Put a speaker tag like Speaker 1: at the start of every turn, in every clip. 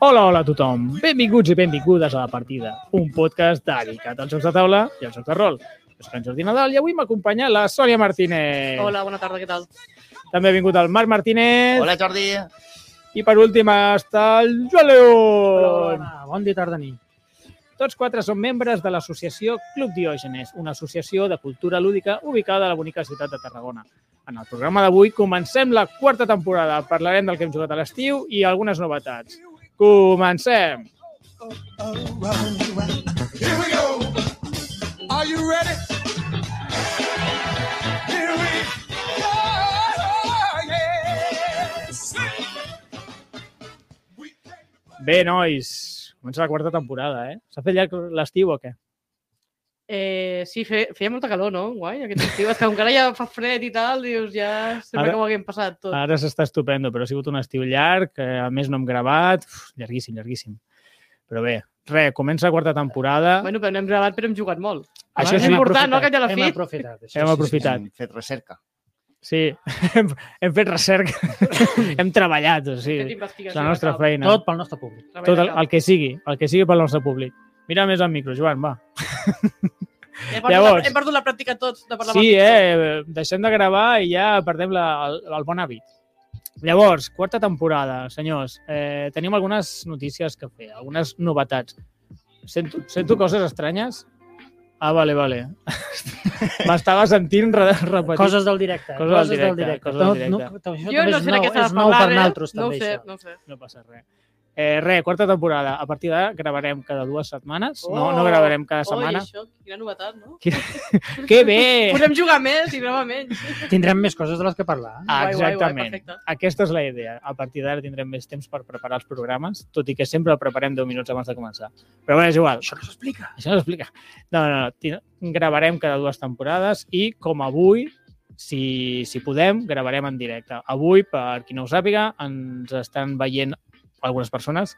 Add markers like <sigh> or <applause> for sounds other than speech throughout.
Speaker 1: Hola, hola a tothom. Benvinguts i benvingudes a La Partida, un podcast dedicat als jocs de taula i als jocs de rol. Jo soc en Jordi Nadal i avui m'acompanya la Sònia Martínez.
Speaker 2: Hola, bona tarda, què tal?
Speaker 1: També ha vingut el Marc Martínez.
Speaker 3: Hola, Jordi.
Speaker 1: I per últim està el Joan León.
Speaker 4: Bon dia, tarda, nit.
Speaker 1: Tots quatre són membres de l'associació Club Diògenes, una associació de cultura lúdica ubicada a la bonica ciutat de Tarragona. En el programa d'avui comencem la quarta temporada. Parlarem del que hem jugat a l'estiu i algunes novetats. Comencem!
Speaker 5: Oh, Here we go. Are you ready? Here we go. Yes.
Speaker 1: Bé, nois, comença la quarta temporada, eh? S'ha fet llarg l'estiu o què?
Speaker 2: Eh, sí, fe, feia molta calor, no? Guai, aquest estiu. És que encara ja fa fred i tal, dius, ja sembla
Speaker 1: Ara- Ah.
Speaker 2: que ho haguem passat tot.
Speaker 1: Ara s'està estupendo, però ha sigut un estiu llarg, que a més no hem gravat, Uf, llarguíssim, llarguíssim. Però bé, res, comença la quarta temporada.
Speaker 2: Bueno, però no hem gravat, però hem jugat molt.
Speaker 1: Això
Speaker 2: és
Speaker 1: sí,
Speaker 2: important, no? Que ja la fi.
Speaker 4: Hem aprofitat. això
Speaker 1: Hem
Speaker 4: sí,
Speaker 1: aprofitat.
Speaker 3: Hem fet recerca.
Speaker 1: Sí, <laughs> hem, hem fet
Speaker 2: <laughs>
Speaker 1: recerca, hem treballat, o
Speaker 2: Hem fet
Speaker 1: sigui, és
Speaker 2: investigació
Speaker 1: la
Speaker 2: de
Speaker 1: nostra
Speaker 2: camp,
Speaker 4: sí.
Speaker 1: feina.
Speaker 4: Tot pel nostre públic.
Speaker 2: treball
Speaker 1: tot
Speaker 2: de
Speaker 1: el,
Speaker 2: camp.
Speaker 1: el que sigui, el que sigui pel nostre públic. Mira més al micro, Joan, va.
Speaker 2: Hem perdut,
Speaker 1: Llavors-
Speaker 2: la, hem perdut la pràctica tots de parlar amb
Speaker 1: Sí,
Speaker 2: els altres.
Speaker 1: eh? Deixem de gravar i ja perdem la, el, el bon hàbit. Llavors, quarta temporada, senyors. Eh, tenim algunes notícies que fer, algunes novetats. Sento, sento coses estranyes? Ah, vale, vale. <laughs> M'estava sentint re repetir.
Speaker 4: Coses del directe.
Speaker 1: Coses del directe, coses del
Speaker 4: Tot-
Speaker 1: directe.
Speaker 4: No, això
Speaker 2: Jo
Speaker 4: també
Speaker 2: no
Speaker 4: és
Speaker 2: sé de
Speaker 4: nou-
Speaker 2: què s'ha
Speaker 4: és
Speaker 2: de
Speaker 4: nou
Speaker 2: parlar,
Speaker 4: per
Speaker 2: eh?
Speaker 4: nosaltres,
Speaker 2: no ho
Speaker 4: també,
Speaker 2: sé,
Speaker 4: això.
Speaker 2: no ho sé.
Speaker 1: No passa res. Eh, res, quarta temporada. A partir d'ara gravarem cada dues setmanes. no, no
Speaker 2: Oh,
Speaker 1: gravarem cada
Speaker 2: Oi,
Speaker 1: setmana.
Speaker 2: això, quina novetat, no?
Speaker 1: Que bé!
Speaker 2: Podem jugar més i gravar menys.
Speaker 4: Tindrem més coses de les que parlar. eh?
Speaker 2: Ah. Guai, guai, guai,
Speaker 1: Exactament.
Speaker 2: perfecte.
Speaker 1: Aquesta és la idea. A partir d'ara tindrem més temps per preparar els programes, tot i que sempre el preparem 10 minuts abans de començar. Però bé, és igual. Això no s'explica. Això no s'explica. No, no, no. Tin- Gravarem cada dues temporades i, com avui, si, si podem, gravarem en directe. Avui, per qui no ho sàpiga, ens estan veient algunes persones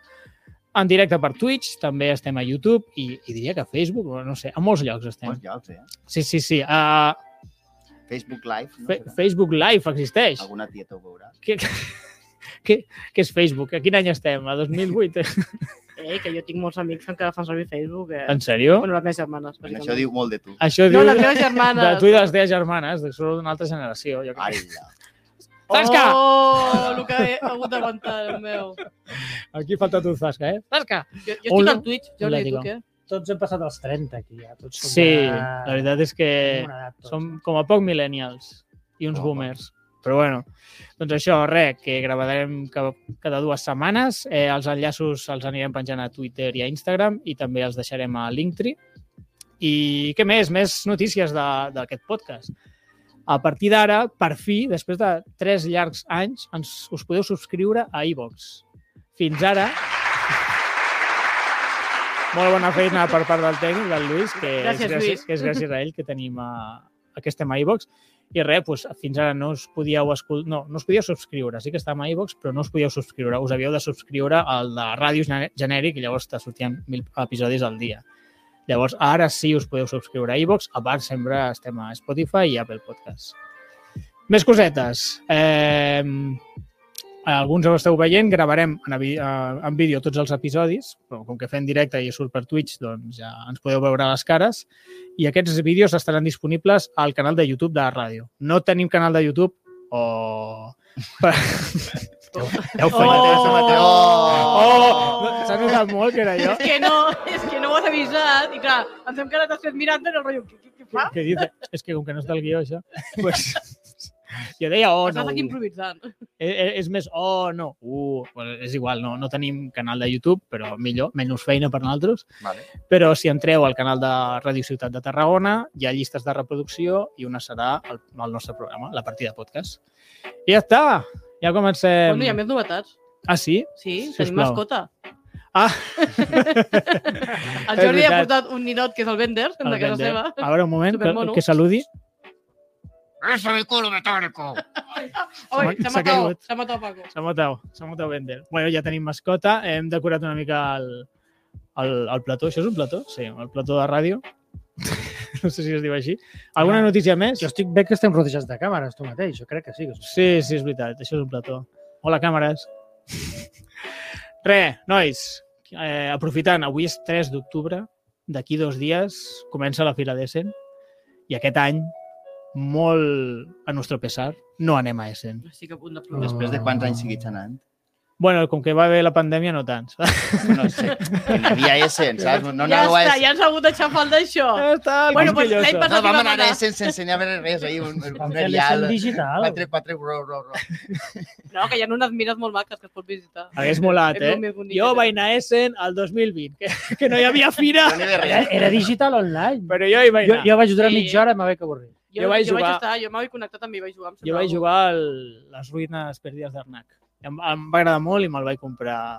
Speaker 1: en directe per Twitch, també estem a YouTube i, i diria que a Facebook, o no sé, a molts llocs estem.
Speaker 3: Molts llocs, eh?
Speaker 1: Sí, sí, sí. Uh,
Speaker 3: Facebook Live. No?
Speaker 1: fe,
Speaker 3: Serà?
Speaker 1: Facebook Live existeix.
Speaker 3: Alguna tieta ho veurà.
Speaker 1: Què, què, què és Facebook? A quin any estem? A 2008?
Speaker 2: Ei, que jo tinc molts amics que encara fan servir Facebook. Eh?
Speaker 1: En sèrio?
Speaker 2: Bueno, les meves germanes,
Speaker 3: Bueno,
Speaker 2: bàsicament.
Speaker 3: Doncs això diu molt de tu.
Speaker 1: Això
Speaker 2: No,
Speaker 1: diu
Speaker 2: les meves germanes.
Speaker 1: de tu i de les teves germanes, que són d'una altra generació. Jo crec.
Speaker 3: Ara ja.
Speaker 1: Zasca!
Speaker 2: Oh, el que he hagut d'aguantar, el meu.
Speaker 1: Aquí falta tu, Zasca, eh? Zasca!
Speaker 2: Jo, jo "Eh?"
Speaker 1: Hola.
Speaker 2: estic al Twitch, Jordi, i tu
Speaker 1: Hola,
Speaker 2: què?
Speaker 4: Tots hem passat els 30 aquí, ja. Tots som
Speaker 1: Sí,
Speaker 4: ja-
Speaker 1: la veritat és que
Speaker 4: tenim una edat tots. eh?
Speaker 1: som com a poc millennials i uns
Speaker 3: Com a poc.
Speaker 1: boomers. Però bueno, doncs això, res, que gravarem ca- cada dues setmanes. Eh, els enllaços els anirem penjant a Twitter i a Instagram i també els deixarem a Linktree. I què més? Més notícies de- d'aquest podcast. A partir d'ara, per fi, després de tres llargs anys, ens, us podeu subscriure a iVox. Fins ara... Molt bona feina per part del tècnic, del Lluís, que,
Speaker 2: Gràcies,
Speaker 1: és, gràcies,
Speaker 2: Lluís.
Speaker 1: que és gràcies a ell que tenim a, que estem a iVox. I res, doncs, fins ara no us podíeu escol... no, no us podíeu subscriure. Sí que estàvem a iVox, però no us podíeu subscriure. Us havíeu de subscriure al de ràdio gene- genèric i llavors te sortien mil episodis al dia. Llavors, ara sí us podeu subscriure a iVox. A part, sempre estem a Spotify i Apple Podcasts. Més cosetes. Eh, alguns ho esteu veient, gravarem en, avi- eh, en vídeo tots els episodis, però com que fem directe i surt per Twitch, doncs ja ens podeu veure les cares. I aquests vídeos estaran disponibles al canal de YouTube de la ràdio. No tenim canal de YouTube o... Heu fet. Oh!
Speaker 3: Mateu, Mateu.
Speaker 1: oh! S'ha notat molt que era jo.
Speaker 2: És que no, és que no ho has avisat. I clar, ens hem quedat després mirant en el rotllo. Què, què, què fa?
Speaker 1: Que dice, és que com que no està el guió,
Speaker 2: <laughs>
Speaker 1: això... Pues, <laughs> jo deia, oh, no.
Speaker 2: Estàs aquí improvisant.
Speaker 1: Eh, eh, és més, oh, no, uh, bueno, és igual, no, no tenim canal de YouTube, però millor, menys feina per nosaltres.
Speaker 3: Vale.
Speaker 1: Però si entreu al canal de Ràdio Ciutat de Tarragona, hi ha llistes de reproducció i una serà el, el nostre programa, la partida podcast. I ja està! Ja comencem.
Speaker 2: Bueno, hi ha més novetats.
Speaker 1: Ah, sí?
Speaker 2: Sí,
Speaker 1: Sisplau.
Speaker 2: tenim mascota.
Speaker 1: Ah. <laughs>
Speaker 2: el Jordi
Speaker 1: És
Speaker 2: ha
Speaker 1: veritat.
Speaker 2: portat un ninot que és el Bender,
Speaker 1: El
Speaker 2: de casa
Speaker 1: Bender.
Speaker 2: seva.
Speaker 1: A veure, un moment, que,
Speaker 2: Supermono.
Speaker 1: que saludi.
Speaker 3: És el culo metálico.
Speaker 1: m'ha-
Speaker 2: Oi, s'ha
Speaker 1: Ah, s'ha
Speaker 2: matat,
Speaker 1: caigut.
Speaker 2: s'ha matat Paco.
Speaker 1: Samotau, Samotau Bender. Bueno, ja tenim mascota, hem decorat una mica el, el, el plató. Això és un plató? Sí, el plató de
Speaker 2: <laughs>
Speaker 1: ràdio. no sé si es diu així.
Speaker 2: Ah.
Speaker 1: Alguna notícia més?
Speaker 4: Jo estic bé que estem rodejats de càmeres, tu mateix. Jo crec que sí. Que
Speaker 2: <laughs>
Speaker 1: Sí, sí, és veritat. Això és un plató. Hola, càmeres. Re, nois, eh, aprofitant, avui és 3 d'octubre, d'aquí dos dies comença la Fira d'Essen i aquest any, molt a nostre pesar, no anem a Essen.
Speaker 2: Estic a punt de
Speaker 4: No.
Speaker 2: plorar.
Speaker 3: Després de quants anys seguits anant?
Speaker 1: Bueno, com que va haver la pandèmia, no tant. saps?
Speaker 3: No sé, que n'hi havia Essen, saps? No,
Speaker 2: No,
Speaker 3: no,
Speaker 2: ja
Speaker 3: no,
Speaker 2: està,
Speaker 3: és...
Speaker 2: ja ens ha hagut aixafar el d'això.
Speaker 1: Ja <laughs> està, el
Speaker 2: Oh. Bueno, pues l'any
Speaker 1: cosquilloso.
Speaker 2: passat-
Speaker 3: no vam anar a Essen sense ni haver res, ahir un, un,
Speaker 4: Van
Speaker 3: un
Speaker 4: fer l'Essen
Speaker 3: erial,
Speaker 4: digital.
Speaker 3: quatre, quatre, ro, ro, ro.
Speaker 2: No, que hi ha unes mires molt maques que es pot visitar.
Speaker 1: Hagués molat,
Speaker 2: És
Speaker 1: eh?
Speaker 2: molt més bonic.
Speaker 1: Jo vaig anar a Essen al 2020, que, que no hi havia
Speaker 2: <laughs>
Speaker 1: fira,
Speaker 3: No n'hi havia
Speaker 4: Era,
Speaker 3: res.
Speaker 4: era digital online.
Speaker 1: però jo hi vaig
Speaker 4: Jo,
Speaker 1: anar. Jo,
Speaker 4: jo vaig durar
Speaker 2: Sí.
Speaker 4: mitja hora i m'ha vaig avorrir.
Speaker 2: Jo,
Speaker 1: Jo vaig
Speaker 2: jo
Speaker 1: jugar-
Speaker 2: Vaig estar, jo m'havia connectat també, vaig jugar. em
Speaker 1: jo, jo
Speaker 2: semblava.
Speaker 1: vaig jugar a les ruïnes perdides d'Arnac. Em, em va agradar molt i me'l vaig comprar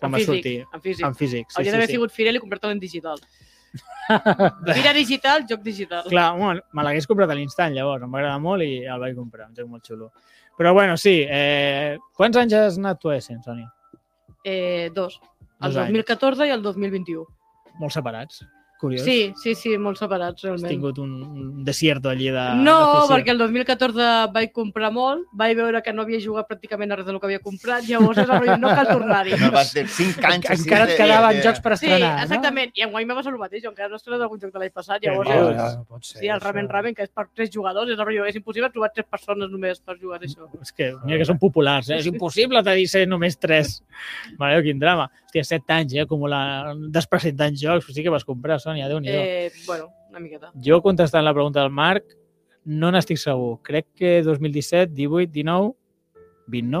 Speaker 1: quan
Speaker 2: en
Speaker 1: va
Speaker 2: físic.
Speaker 1: sortir.
Speaker 2: En físic.
Speaker 1: En físic, sí,
Speaker 2: Hauria
Speaker 1: sí,
Speaker 2: d'haver
Speaker 1: sí.
Speaker 2: sigut Firel i comprar-te'l
Speaker 1: <laughs>
Speaker 2: en digital. Mira digital, joc digital.
Speaker 1: Clar, bueno, me l'hagués comprat a l'instant, llavors. Em va agradar molt i el vaig comprar. Un joc molt xulo. Però, bueno, sí. Eh, quants anys has anat tu a Essen, Sònia?
Speaker 2: Eh, dos. El
Speaker 1: Dos anys.
Speaker 2: 2014 i el 2021.
Speaker 1: Molt separats. Curiós.
Speaker 2: Sí, sí, sí, molt separats,
Speaker 1: Has
Speaker 2: realment.
Speaker 1: tingut un, un desierto allí de...
Speaker 2: No,
Speaker 1: de
Speaker 2: perquè el 2014 vaig comprar molt, vaig veure que no havia jugat pràcticament a res del que havia comprat, llavors és el rotllo, no cal
Speaker 1: <laughs>
Speaker 2: tornar-hi.
Speaker 3: No, vas de 5 anys. així
Speaker 4: Encara
Speaker 3: de-
Speaker 4: et quedaven
Speaker 3: de-
Speaker 4: jocs per
Speaker 2: Sí,
Speaker 4: estrenar,
Speaker 2: exactament. I enguany me va ser el mateix, jo encara no he estrenat algun joc de l'any passat,
Speaker 1: Però dius.
Speaker 2: llavors... és-
Speaker 4: no? Ja, Ah, no pot ser,
Speaker 2: Sí, el
Speaker 4: això.
Speaker 2: Ramen Ramen, que és per tres jugadors, és, el rotllo, és impossible trobar tres persones només per jugar a això.
Speaker 1: És que, mira que són populars, eh? És impossible de dir ser només
Speaker 3: <laughs>
Speaker 1: tres. Mare meva, quin drama. Hòstia, set anys, eh? Acumulant, despresentant jocs. Sí que vas comprar, Sònia, déu nhi eh...
Speaker 2: Eh, bueno, una miqueta.
Speaker 1: Jo, contestant la pregunta del Marc, no n'estic segur. Crec que 2017, 18, 19, 20, no?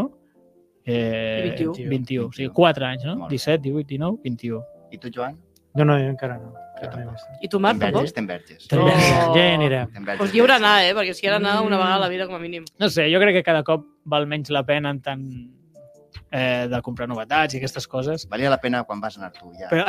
Speaker 1: Eh,
Speaker 2: 21.
Speaker 1: 21. 21. O sigui, 4 anys, no?
Speaker 3: Molt bé.
Speaker 1: 17, 18, 19, 21.
Speaker 3: I tu, Joan?
Speaker 4: No, no, jo encara no. Encara no he vist.
Speaker 2: I tu, Marc, tampoc?
Speaker 3: Verges, te'n verges.
Speaker 1: Te'n verges.
Speaker 4: Ja hi anirem.
Speaker 3: Te'n
Speaker 2: Pues hi haurà d'anar,
Speaker 3: verges.
Speaker 2: eh? Perquè si hi ha d'anar una vegada a la vida, com a mínim.
Speaker 1: No sé, jo crec que cada cop val menys la pena en tant eh, de comprar novetats i aquestes coses.
Speaker 3: Valia la pena quan vas anar tu, ja.
Speaker 1: eh? Però-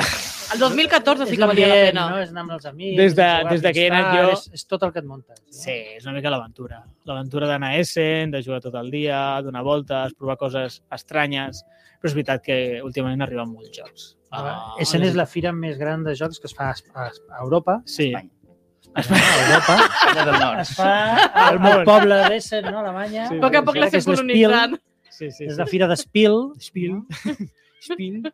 Speaker 2: El 2014 sí que valia la
Speaker 4: l'ambient,
Speaker 2: pena.
Speaker 4: No? És anar amb els amics,
Speaker 1: Des de-
Speaker 4: és jugar
Speaker 1: des de que he anat
Speaker 4: tard,
Speaker 1: jo-
Speaker 4: És, és tot el que et muntes. no?
Speaker 1: Sí, és una mica l'aventura. L'aventura d'anar a Essen, de jugar tot el dia, donar voltes, provar coses estranyes. Però és veritat que últimament arriben molts jocs.
Speaker 4: Ah, Essen és la fira més gran de jocs que es fa a, a a Europa.
Speaker 1: Sí,
Speaker 3: Espanya.
Speaker 4: <laughs> Es fa a Europa.
Speaker 3: Espanya del nord.
Speaker 4: Es fa <laughs> al,
Speaker 1: món.
Speaker 4: al poble d'Essen, no? a Alemanya.
Speaker 1: Sí,
Speaker 2: A poc a poc
Speaker 4: Em sembla que
Speaker 2: l'estem
Speaker 4: és l'Spiel,
Speaker 2: colonitzant.
Speaker 1: sí, sí.
Speaker 4: És
Speaker 1: sí.
Speaker 4: la fira d'Espil.
Speaker 1: Spiel.
Speaker 4: <laughs>
Speaker 1: Spiel.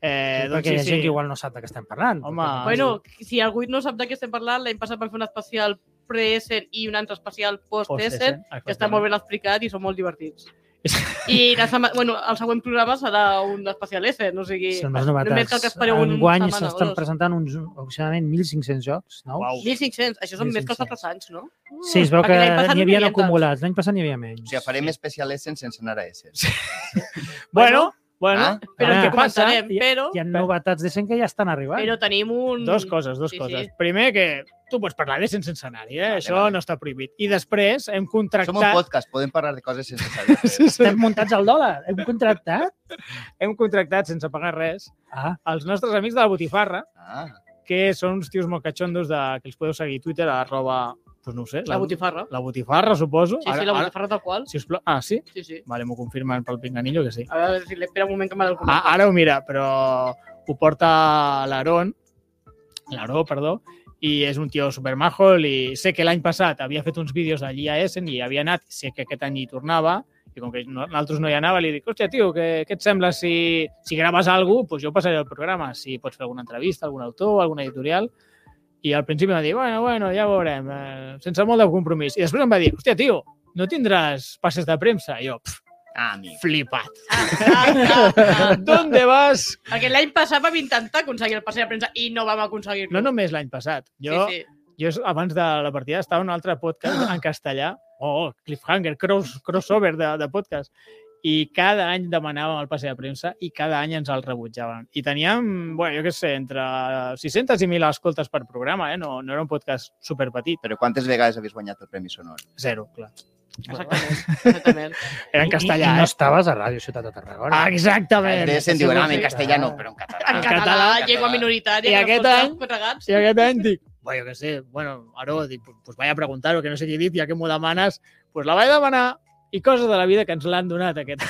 Speaker 1: Eh,
Speaker 4: Eh,
Speaker 1: doncs
Speaker 4: perquè
Speaker 1: sí,
Speaker 4: hi ha
Speaker 1: sí.
Speaker 4: gent que igual no sap de què estem parlant.
Speaker 1: Home.
Speaker 4: Perquè-
Speaker 2: Bueno, si algú no sap de què estem parlant, l'any passat vam fer un especial pre-Essen i un altre especial post-Essen, que està molt ben explicat i són molt divertits. I la sema... bueno, el següent programa serà un especial Essen, o sigui...
Speaker 4: Són les novetats.
Speaker 2: només cal que espereu una
Speaker 4: Enguany
Speaker 2: setmana o
Speaker 4: s'estan
Speaker 2: dos.
Speaker 4: presentant uns aproximadament 1.500 jocs nous.
Speaker 1: Uau.
Speaker 2: 1.500, això són més que els
Speaker 4: 1.500.
Speaker 2: altres anys, no?
Speaker 4: Sí, es veu que
Speaker 2: Perquè l'any passat
Speaker 4: n'hi
Speaker 2: no
Speaker 4: havien
Speaker 2: tants.
Speaker 4: acumulats. L'any passat n'hi havia menys.
Speaker 3: O sigui, farem especial Essen sense anar a Essen.
Speaker 1: Bueno, bueno.
Speaker 3: Ah?
Speaker 2: Però
Speaker 4: Ah,
Speaker 2: ah,
Speaker 1: què
Speaker 2: que començarem,
Speaker 4: hi ha-
Speaker 2: però,
Speaker 4: Hi ha novetats de 100 que ja estan arribant.
Speaker 2: però tenim un...
Speaker 1: Dos coses, dos
Speaker 2: Sí, sí.
Speaker 1: coses. Primer, que tu pots parlar de sense escenari, eh?
Speaker 3: Vale,
Speaker 1: Això
Speaker 3: vale.
Speaker 1: no està prohibit. I després hem
Speaker 3: Som un
Speaker 1: <laughs> contractat...
Speaker 3: podcast, podem parlar de coses sense saber.
Speaker 4: Estem muntats al dòlar. Hem contractat?
Speaker 1: Hem contractat, sense pagar res,
Speaker 4: Ah,
Speaker 1: els nostres amics de la botifarra,
Speaker 3: Ah,
Speaker 1: que són uns tios molt catxondos de, que els podeu seguir a Twitter a arroba, pues no ho sé,
Speaker 2: La botifarra.
Speaker 1: la botifarra, suposo.
Speaker 2: Sí, sí, la botifarra tal qual.
Speaker 1: Ara, si us plau... Ah, sí?
Speaker 2: Sí, sí.
Speaker 1: Vale, m'ho confirmen pel pinganillo que sí.
Speaker 2: A veure, si espera un moment que m'ha del
Speaker 1: Ah, ara ho mira, però ho porta l'Aaron, l'Aaró, perdó, i és un tio supermajo i sé que l'any passat havia fet uns vídeos allí a Essen i hi havia anat, sé que aquest any hi tornava i com que no- nosaltres no hi anava, li dic, hòstia, tio, què, què et sembla si, si graves alguna cosa, doncs jo passaré al programa, si pots fer alguna entrevista, algun autor, alguna editorial, i al principi va dir, bueno, bueno, ja ho veurem, eh, sense molt de compromís. I després em va dir, hòstia, tio, no tindràs passes de premsa? I jo, pf,
Speaker 3: ah, amic.
Speaker 1: flipat.
Speaker 2: Ah, ah, ah.
Speaker 1: ¿Dónde vas?
Speaker 2: Perquè l'any passat vam intentar aconseguir el passeig de premsa i no vam aconseguir-lo.
Speaker 1: No només l'any passat. Jo,
Speaker 2: Sí, sí.
Speaker 1: sí. jo abans de la partida estava en un altre podcast
Speaker 4: Ah.
Speaker 1: en castellà. Oh, cliffhanger, cross, crossover de, de podcast. I cada any demanàvem el passe de premsa i cada any ens el rebutjaven. I teníem, bueno, jo què sé, entre 600 i 1.000 escoltes per programa, eh? No, no era un podcast superpetit.
Speaker 3: Però quantes vegades havies guanyat el Premi Sonor?
Speaker 1: Zero, clar.
Speaker 2: Exactament.
Speaker 1: <laughs>
Speaker 2: Exactament.
Speaker 1: Era en
Speaker 4: I,
Speaker 1: castellà,
Speaker 4: i no
Speaker 1: eh? Ah,
Speaker 4: estaves a Ràdio Ciutat de Tarragona.
Speaker 1: Exactament.
Speaker 3: Després se'n diuen, ah, en
Speaker 4: sí.
Speaker 3: castellà no, però en
Speaker 2: En
Speaker 3: català.
Speaker 2: català,
Speaker 1: català.
Speaker 2: llengua minoritària.
Speaker 1: I
Speaker 2: que
Speaker 1: aquest
Speaker 2: no pot ser
Speaker 1: any-
Speaker 2: Quatre gats.
Speaker 1: I aquest any dic, bueno, que sé, bueno, ara dic, pues, pues vaig a preguntar-ho, que no sé què he dit, ja que m'ho demanes, pues la vaig demanar i coses de la vida que ens l'han donat aquest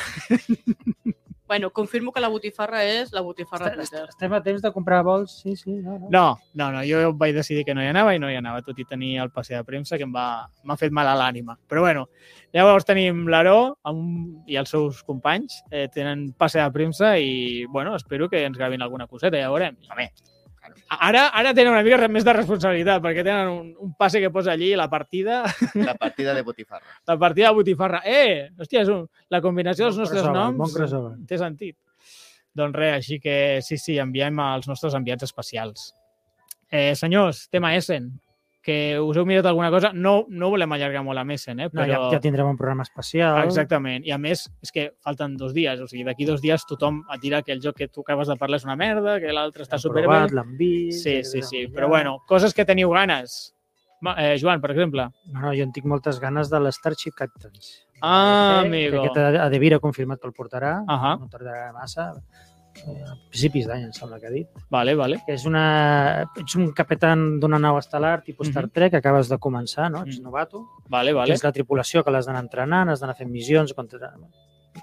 Speaker 2: Bueno, confirmo que la botifarra és la botifarra
Speaker 4: Est-
Speaker 2: Twitter.
Speaker 4: est- Estem a temps de comprar vols, sí, sí. No, no.
Speaker 1: No, no, no, jo vaig decidir que no hi anava i no hi anava, tot i tenir el passe de premsa que em va- m'ha fet mal a l'ànima. Però bueno, llavors tenim l'Aró amb- i els seus companys, eh, tenen passe de premsa i, bueno, espero que ens gravin alguna coseta, ja veurem.
Speaker 3: Home,
Speaker 1: Ara, ara tenen una mica més de responsabilitat, perquè tenen un, un passe que posa allí la partida,
Speaker 3: la partida de botifarra.
Speaker 1: la partida de Botifarra. Eh, hòstia, és un, la combinació dels
Speaker 4: Bon
Speaker 1: nostres
Speaker 4: crossover,
Speaker 1: noms
Speaker 4: bon crossover.
Speaker 1: té sentit. Doncs res, així que sí, sí, enviem els nostres enviats especials. Eh, senyors, tema Essen, que us heu mirat alguna cosa? No, no volem allargar molt amb Essen, eh?
Speaker 4: no
Speaker 1: Però... Ah,
Speaker 4: ja, ja tindrem un programa especial.
Speaker 1: Exactament. I a més, és que falten dos dies. O sigui, d'aquí dos dies tothom et dirà que el joc que tu acabes de parlar és una merda, que l'altre està
Speaker 4: L'hem
Speaker 1: superbé.
Speaker 4: provat, L'hem vist...
Speaker 1: Sí,
Speaker 4: l'hem
Speaker 1: sí, sí.
Speaker 4: treballat.
Speaker 1: Però bueno, coses que teniu ganes. Ma- Eh, Joan, per exemple.
Speaker 4: No, no, jo en tinc moltes ganes de l'Starship Captains. Eh,
Speaker 1: Ah,
Speaker 4: Crec
Speaker 1: amigo. Ah.
Speaker 4: Que aquest Adevir ha confirmat que el portarà.
Speaker 1: Ahà.
Speaker 4: No tardarà massa. Eh, A principis d'any, em sembla que ha dit.
Speaker 1: Vale, vale.
Speaker 4: Que és una... Ets un capitán d'una nau estel·lar tipus Star
Speaker 1: Mhm.
Speaker 4: Trek, que acabes de començar, no? Ets
Speaker 1: Mm.
Speaker 4: novato.
Speaker 1: Vale, vale.
Speaker 4: Tens la tripulació que l'has d'anar entrenant, has d'anar fent missions, contra...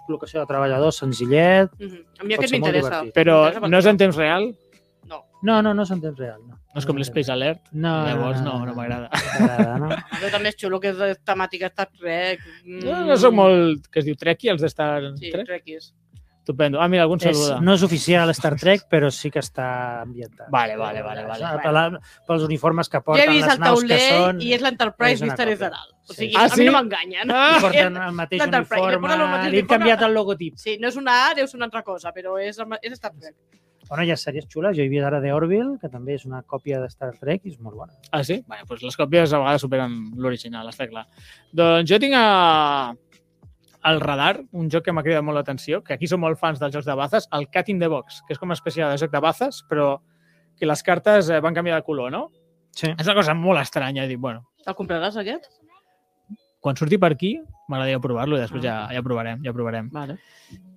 Speaker 4: col·locació de treballadors senzillet...
Speaker 2: Mhm. A mi
Speaker 4: Pot
Speaker 2: aquest
Speaker 4: ser molt
Speaker 2: m'interessa.
Speaker 4: divertit.
Speaker 1: Però no és en temps real?
Speaker 4: No, no, no és en temps real, no.
Speaker 1: No és com l'Space Alert?
Speaker 4: No,
Speaker 1: Llavors no, no m'agrada.
Speaker 4: m'agrada.
Speaker 1: <laughs>
Speaker 4: No?
Speaker 2: Jo també és xulo que és de temàtica Star Trek. Mm.
Speaker 1: No, no soc molt... Que es diu Trekkie, els de Star
Speaker 2: Sí,
Speaker 1: Trek?
Speaker 2: Trekkies.
Speaker 1: Estupendo. Ah, mira, algun
Speaker 4: És,
Speaker 1: saluda.
Speaker 4: no és oficial Star Trek, però sí que està ambientat.
Speaker 1: Vale, vale, vale,
Speaker 4: És,
Speaker 1: vale.
Speaker 4: eh, Per la, pels uniformes que
Speaker 2: Jo he
Speaker 4: porten,
Speaker 2: vist
Speaker 4: les
Speaker 2: el
Speaker 4: naus que
Speaker 2: tauler
Speaker 4: són...
Speaker 2: i és
Speaker 4: és
Speaker 2: l'Enterprise
Speaker 4: una
Speaker 2: vist des
Speaker 4: còpia.
Speaker 2: de dalt. O
Speaker 4: Sí.
Speaker 2: sigui,
Speaker 1: Ah,
Speaker 2: a mi
Speaker 1: sí?
Speaker 2: no m'enganyen.
Speaker 1: Ah!
Speaker 4: Porten el mateix
Speaker 2: l'Enterprise, li
Speaker 4: uniforme,
Speaker 2: posen el mateix
Speaker 4: li han
Speaker 2: uniforme.
Speaker 4: canviat el logotip.
Speaker 2: Sí, no és una A, deu ser una altra cosa, però és, és Star Trek.
Speaker 4: Bueno, hi ha sèries xules, jo he vist ara The Orville, que també és una còpia de Star Trek i és molt bona.
Speaker 1: Ah, sí? Bé, doncs les còpies a vegades superen l'original, està clar. Doncs jo tinc a... El Radar, un joc que m'ha cridat molt l'atenció, que aquí som molt fans dels jocs de bazes, el Cat in the Box, que és com una espècie de joc de bazes, però que les cartes eh, van canviar de color, no?
Speaker 4: Sí.
Speaker 1: És una cosa molt estranya. Dic, bueno,
Speaker 2: El compraràs, aquest?
Speaker 1: quan surti per aquí, m'agradaria provar-lo i després ja,
Speaker 2: Mm.
Speaker 1: ja provarem, ja provarem.
Speaker 2: Vale.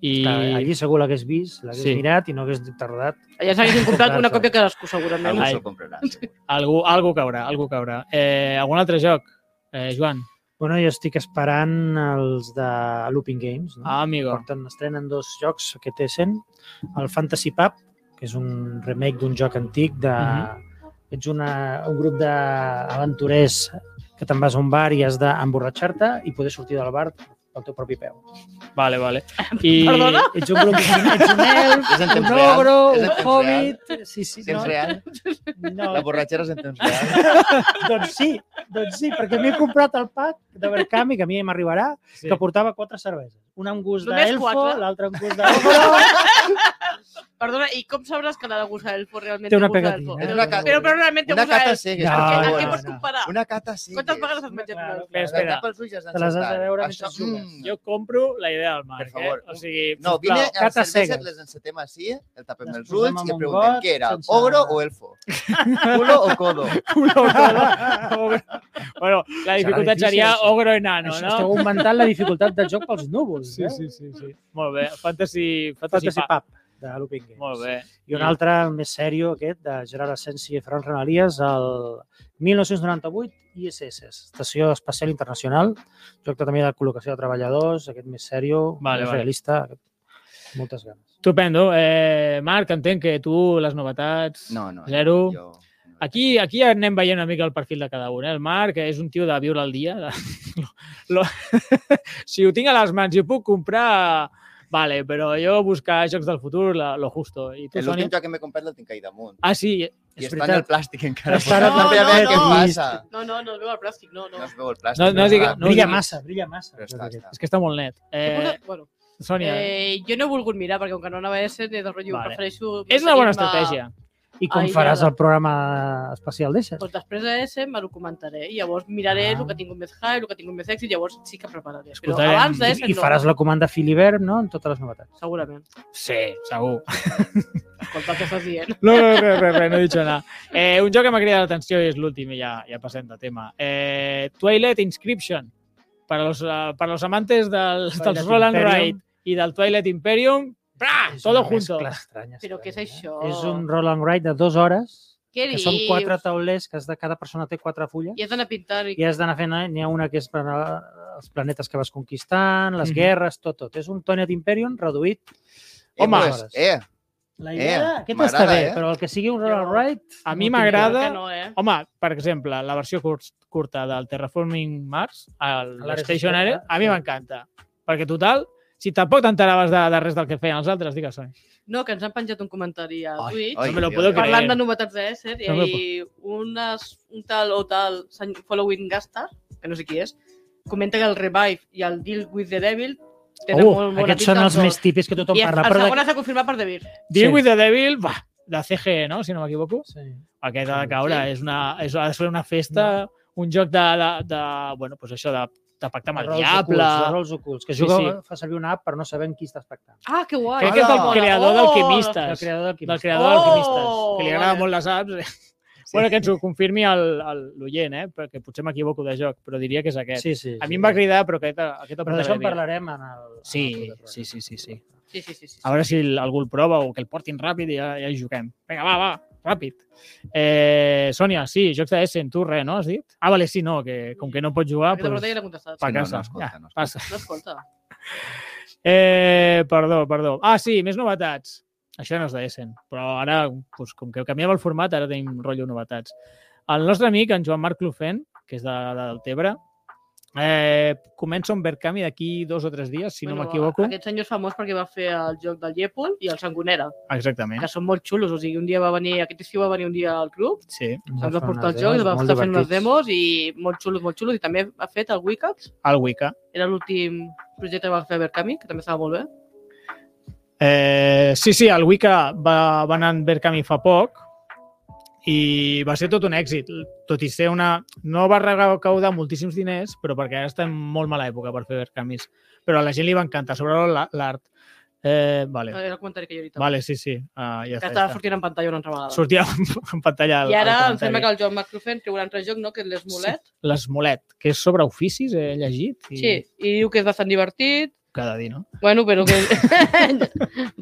Speaker 1: I...
Speaker 4: Que allí segur l'hagués vist, l'hagués
Speaker 1: Sí.
Speaker 4: mirat i no hagués tardat.
Speaker 2: Ja s'haguessin comprat una còpia cadascú,
Speaker 3: Algú
Speaker 2: segurament.
Speaker 1: Ai.
Speaker 3: s'ho comprarà. segur.
Speaker 1: Algú, algú caurà, algú caurà. Eh, algun altre joc, eh, Joan?
Speaker 4: Bueno, jo estic esperant els de Looping Games. No?
Speaker 1: Ah, amigo.
Speaker 4: Porten, estrenen dos jocs que t'essen. El Fantasy Pub, que és un remake d'un joc antic de...
Speaker 1: Mhm.
Speaker 4: Ets una, un grup d'aventurers que te'n vas a un bar i has d'emborratxar-te i poder sortir del bar pel teu propi peu.
Speaker 1: Vale, vale. I...
Speaker 2: Perdona?
Speaker 4: Ets
Speaker 1: <laughs>
Speaker 4: un grup, ets un elf,
Speaker 3: És en
Speaker 4: un
Speaker 3: temps real.
Speaker 4: ogro,
Speaker 3: És
Speaker 4: un
Speaker 3: en temps real.
Speaker 4: hobbit... Sí, sí,
Speaker 3: Temps
Speaker 4: no,
Speaker 3: real.
Speaker 4: no,
Speaker 3: La borratxera
Speaker 4: <laughs>
Speaker 3: és en temps real.
Speaker 4: doncs sí, doncs sí, perquè m'he comprat el pack d'Abercami, que a mi m'arribarà,
Speaker 1: Sí.
Speaker 4: que portava quatre cerveses. Una amb gust
Speaker 2: Només
Speaker 4: d'elfo,
Speaker 2: quatre?
Speaker 4: l'altra amb gust d'ogro...
Speaker 2: Perdona, i com sabràs que la de Gusa Elfo realment
Speaker 4: Té una
Speaker 2: Gusa
Speaker 4: pegatina.
Speaker 2: Elfo?
Speaker 4: eh?
Speaker 3: És una ca-
Speaker 2: Però, però realment té
Speaker 3: Una
Speaker 2: Gusa
Speaker 3: cata
Speaker 2: Elfo.
Speaker 3: cegues.
Speaker 4: No,
Speaker 2: Què-
Speaker 4: no,
Speaker 2: què
Speaker 4: no,
Speaker 2: pots
Speaker 4: no.
Speaker 2: comparar?
Speaker 3: Una cata cegues.
Speaker 2: Quantes vegades has menjat una
Speaker 4: Claro,
Speaker 2: Elfo?
Speaker 1: Bé, espera,
Speaker 3: Espera. Pels ulls has
Speaker 4: Te les has de
Speaker 3: d'encertar.
Speaker 4: veure
Speaker 3: Això,
Speaker 4: mentre jugues.
Speaker 3: mm.
Speaker 1: Jo compro la idea del Marc,
Speaker 3: Per favor.
Speaker 1: eh? O sigui,
Speaker 3: No, vine
Speaker 1: <laughs> sisplau.
Speaker 3: a
Speaker 4: Cata
Speaker 3: cerveses,
Speaker 4: cegues.
Speaker 3: les encetem així, el tapem
Speaker 4: Les
Speaker 3: els
Speaker 4: posem
Speaker 3: ulls
Speaker 4: amb
Speaker 3: i
Speaker 4: un
Speaker 3: preguntem
Speaker 4: got
Speaker 3: què era,
Speaker 4: sense-
Speaker 3: ogro
Speaker 1: <laughs>
Speaker 3: o elfo? Culo o codo?
Speaker 1: bueno, la dificultat
Speaker 4: difícil,
Speaker 1: seria
Speaker 4: això.
Speaker 1: ogro enano,
Speaker 4: Això,
Speaker 1: Ah, no?
Speaker 4: Esteu augmentant la dificultat del joc pels núvols.
Speaker 1: Sí,
Speaker 4: eh?
Speaker 1: sí, sí, sí. Molt bé, fantasy, fantasy,
Speaker 4: Fantasy
Speaker 1: pa.
Speaker 4: Pub, de Looping Games.
Speaker 1: Molt bé.
Speaker 4: I un altre més sèrio, aquest, de Gerard Asensi i Ferran Renalies, el 1998 ISS, Estació Espacial Internacional, joc de- també de col·locació de treballadors, aquest més sèrio,
Speaker 1: Vale,
Speaker 4: més
Speaker 1: vale.
Speaker 4: realista, aquest- moltes ganes.
Speaker 1: Estupendo. Eh, Marc, entenc que tu, les novetats...
Speaker 3: No, no.
Speaker 1: Zero.
Speaker 3: Jo, no.
Speaker 1: Aquí, aquí anem veient una mica el perfil de cada un. Eh? El Marc és un tio de viure al dia. De... <laughs> Lo... <laughs> si ho tinc a les mans i ho puc comprar, vale, però jo buscar jocs del futur, la, lo justo. I tu, Sònia?
Speaker 3: L'últim joc que m'he comprat el tinc ahir damunt.
Speaker 1: Ah, sí,
Speaker 3: I
Speaker 4: És
Speaker 3: està en el
Speaker 4: veritat.
Speaker 3: plàstic encara.
Speaker 4: Està ara
Speaker 3: Volia
Speaker 2: també
Speaker 3: veure
Speaker 2: no,
Speaker 3: què
Speaker 2: no.
Speaker 3: passa.
Speaker 2: No, no, no, no, el plàstic, no,
Speaker 3: No
Speaker 2: no.
Speaker 3: es veu el plàstic.
Speaker 1: No- no
Speaker 3: és
Speaker 1: digui-
Speaker 3: clar.
Speaker 1: no
Speaker 4: brilla
Speaker 1: digui-
Speaker 4: massa, brilla massa.
Speaker 3: Però està, està.
Speaker 1: és que està molt net. Eh,
Speaker 2: bueno,
Speaker 1: Sònia,
Speaker 2: eh, jo no he volgut mirar, perquè com que no anava a ser, ni de
Speaker 1: Vale.
Speaker 2: rotllo, vale. prefereixo...
Speaker 1: és una bona
Speaker 2: seguir-me-
Speaker 1: estratègia.
Speaker 4: I com
Speaker 2: Ai,
Speaker 4: faràs
Speaker 2: ja.
Speaker 4: el programa especial d'Eixes?
Speaker 2: Doncs després de S me ho comentaré. I llavors miraré
Speaker 4: Ah.
Speaker 2: el que tinc més high, el que tinc més sexy, llavors sí que prepararé. Però
Speaker 1: Escoltarem.
Speaker 2: abans Doncs de
Speaker 1: I-
Speaker 2: S
Speaker 4: I
Speaker 2: no,
Speaker 4: faràs la comanda Filibert, no?, en totes les novetats.
Speaker 2: segurament.
Speaker 1: Sí, segur.
Speaker 2: Escolta el que estàs dient.
Speaker 1: No, no, res, res, res, no he dit nada. Eh, un joc que m'ha cridat l'atenció i és l'últim i ja, ja passem de tema. Eh, Twilight Inscription. Per als, uh, per als amantes del, dels
Speaker 4: Twilight
Speaker 1: Roland
Speaker 4: Imperium.
Speaker 1: Wright i del Twilight Imperium, ¡Pra!
Speaker 4: És
Speaker 1: Todo
Speaker 4: una
Speaker 1: Ah, junto.
Speaker 4: mescla estranya,
Speaker 2: Però què és
Speaker 4: estranya,
Speaker 2: això?
Speaker 4: eh? És un roll and write de dues hores,
Speaker 2: <laughs> Què
Speaker 4: que
Speaker 2: dius?
Speaker 4: són quatre taulers, que has de, cada persona té quatre fulles,
Speaker 2: I has d'anar pintant i...
Speaker 4: i has d'anar fent, eh, n'hi ha una que és per a- els planetes que vas conquistant, les
Speaker 1: Mhm.
Speaker 4: guerres, tot, tot. És un Tony Imperium reduït
Speaker 1: Home.
Speaker 3: pues, eh,
Speaker 4: La
Speaker 3: Eh,
Speaker 4: idea, eh, aquesta està
Speaker 3: m'agrada,
Speaker 4: bé,
Speaker 3: eh?
Speaker 4: però el que sigui un roll
Speaker 2: Jo-
Speaker 4: right...
Speaker 1: A mi
Speaker 4: no tinc
Speaker 1: m'agrada-
Speaker 2: Que no, eh?
Speaker 1: Home, per exemple, la versió curt, curta del Terraforming Mars, el
Speaker 4: A l'Area
Speaker 1: Stationary,
Speaker 4: Secreta,
Speaker 1: a mi
Speaker 4: sí.
Speaker 1: m'encanta. Perquè, total, si tampoc t'enteraves de, de res del que feien els altres, digues Sony.
Speaker 2: No, que ens han penjat un comentari a
Speaker 3: Ai,
Speaker 2: Twitch.
Speaker 3: ai,
Speaker 1: No me lo
Speaker 3: Dios,
Speaker 1: puedo
Speaker 3: Dios.
Speaker 1: creer.
Speaker 2: Parlant de novetats d'Esser,
Speaker 1: No
Speaker 2: i unes, un tal o tal senyor Following Gastar, que no sé qui és, comenta que el Revive i el Deal with the Devil tenen
Speaker 1: Oh,
Speaker 4: Uh,
Speaker 2: molt bona
Speaker 4: aquests són els més típics que tothom
Speaker 2: I el,
Speaker 4: parla.
Speaker 2: el
Speaker 4: Però
Speaker 2: segon
Speaker 4: de...
Speaker 2: has de confirmar per Devil.
Speaker 1: Deal
Speaker 4: Sí.
Speaker 1: with the Devil, va, de CGE, no? Si no m'equivoco.
Speaker 4: Sí.
Speaker 1: Aquest ha de
Speaker 4: Sí.
Speaker 1: caure. És una, és, ha de ser una festa, un joc de, de, de bueno, pues això, de, de pactar amb el
Speaker 4: Rols
Speaker 1: diable.
Speaker 4: ocults, de rols ocults, que
Speaker 1: Sí,
Speaker 4: juga,
Speaker 1: sí.
Speaker 4: fa servir una app per no saber amb qui està pactant.
Speaker 2: Ah, que guai.
Speaker 1: Crec que és del
Speaker 3: Hola.
Speaker 1: creador
Speaker 4: El
Speaker 1: d'Alquimistes.
Speaker 4: creador
Speaker 1: Del
Speaker 4: del Quim.
Speaker 1: creador
Speaker 2: Oh!
Speaker 1: d'Alquimistes, que li agrada
Speaker 2: Vale.
Speaker 1: molt les apps. Sí. Bueno, que ens ho confirmi el- el- l'oient, eh? perquè potser m'equivoco de joc, però diria que és aquest.
Speaker 4: Sí, sí,
Speaker 1: A
Speaker 4: sí.
Speaker 1: mi em va cridar, però aquest, aquest el
Speaker 4: Però d'això
Speaker 1: portaré
Speaker 4: en
Speaker 1: bé.
Speaker 4: parlarem en el... en
Speaker 1: Sí,
Speaker 4: el programa.
Speaker 1: sí, sí, sí, sí.
Speaker 2: Sí, sí, sí. sí.
Speaker 1: A veure si el- algú el prova o que el portin ràpid i ja, ja hi juguem. Vinga, va, va, ràpid. Eh, Sònia, sí, jocs de Essen, tu res, no has dit? Ah, vale, sí, no, que com que no pots jugar,
Speaker 2: Aquesta pregunta ja
Speaker 1: doncs
Speaker 2: l'he contestat.
Speaker 1: pa
Speaker 3: No, no
Speaker 1: casa.
Speaker 3: escolta,
Speaker 1: ja,
Speaker 3: no escolta.
Speaker 1: passa.
Speaker 2: No escolta.
Speaker 1: Eh, perdó, perdó. Ah, sí, més novetats. Això no és de Essen, però ara, doncs, com que canviava el format, ara tenim rotllo novetats. El nostre amic, en Joan Marc Clofent, que és de, de, del Tebre, eh, comença un Verkami d'aquí dos o tres dies, si bueno, no m'equivoco.
Speaker 2: Aquest senyor és famós perquè va fer el joc del Llepol i el Sangonera,
Speaker 1: Exactament,
Speaker 2: que són molt xulos. O sigui, un dia va venir, aquest estiu va venir un dia al club,
Speaker 1: sí.
Speaker 2: ens va
Speaker 4: fer
Speaker 2: portar el
Speaker 4: unes
Speaker 2: joc, ens va
Speaker 4: molt
Speaker 2: estar fent unes
Speaker 4: divertits.
Speaker 2: demos i molt xulos, molt xulos. I també ha fet el Wicaps,
Speaker 1: Al Wicca.
Speaker 2: era l'últim projecte que va fer Verkami, que també estava molt bé.
Speaker 1: Eh, sí, sí, el Wicca va, va anar en Verkami fa poc i va ser tot un èxit, tot i ser una... No va recaudar moltíssims diners, però perquè ara està en molt mala època per fer Verkamis. Però a la gent li va encantar, sobretot la- l'art. Eh, vale,
Speaker 2: Era el comentari que jo he dit.
Speaker 1: vale, sí, sí. Ah, ja
Speaker 2: que
Speaker 1: està,
Speaker 2: estava
Speaker 1: ja està.
Speaker 2: sortint en pantalla una altra vegada.
Speaker 1: Sortia <laughs> en pantalla el,
Speaker 2: I ara
Speaker 1: el
Speaker 2: em sembla que
Speaker 1: comentari.
Speaker 2: el Joan McCrufen té un altre joc, no?, que és l'Esmolet.
Speaker 1: L'esmolet, que és sobre oficis, he llegit.
Speaker 2: Sí.
Speaker 1: I
Speaker 2: sí. I diu que és bastant divertit,
Speaker 1: Cada dia, no?
Speaker 2: Bueno, però que... <laughs>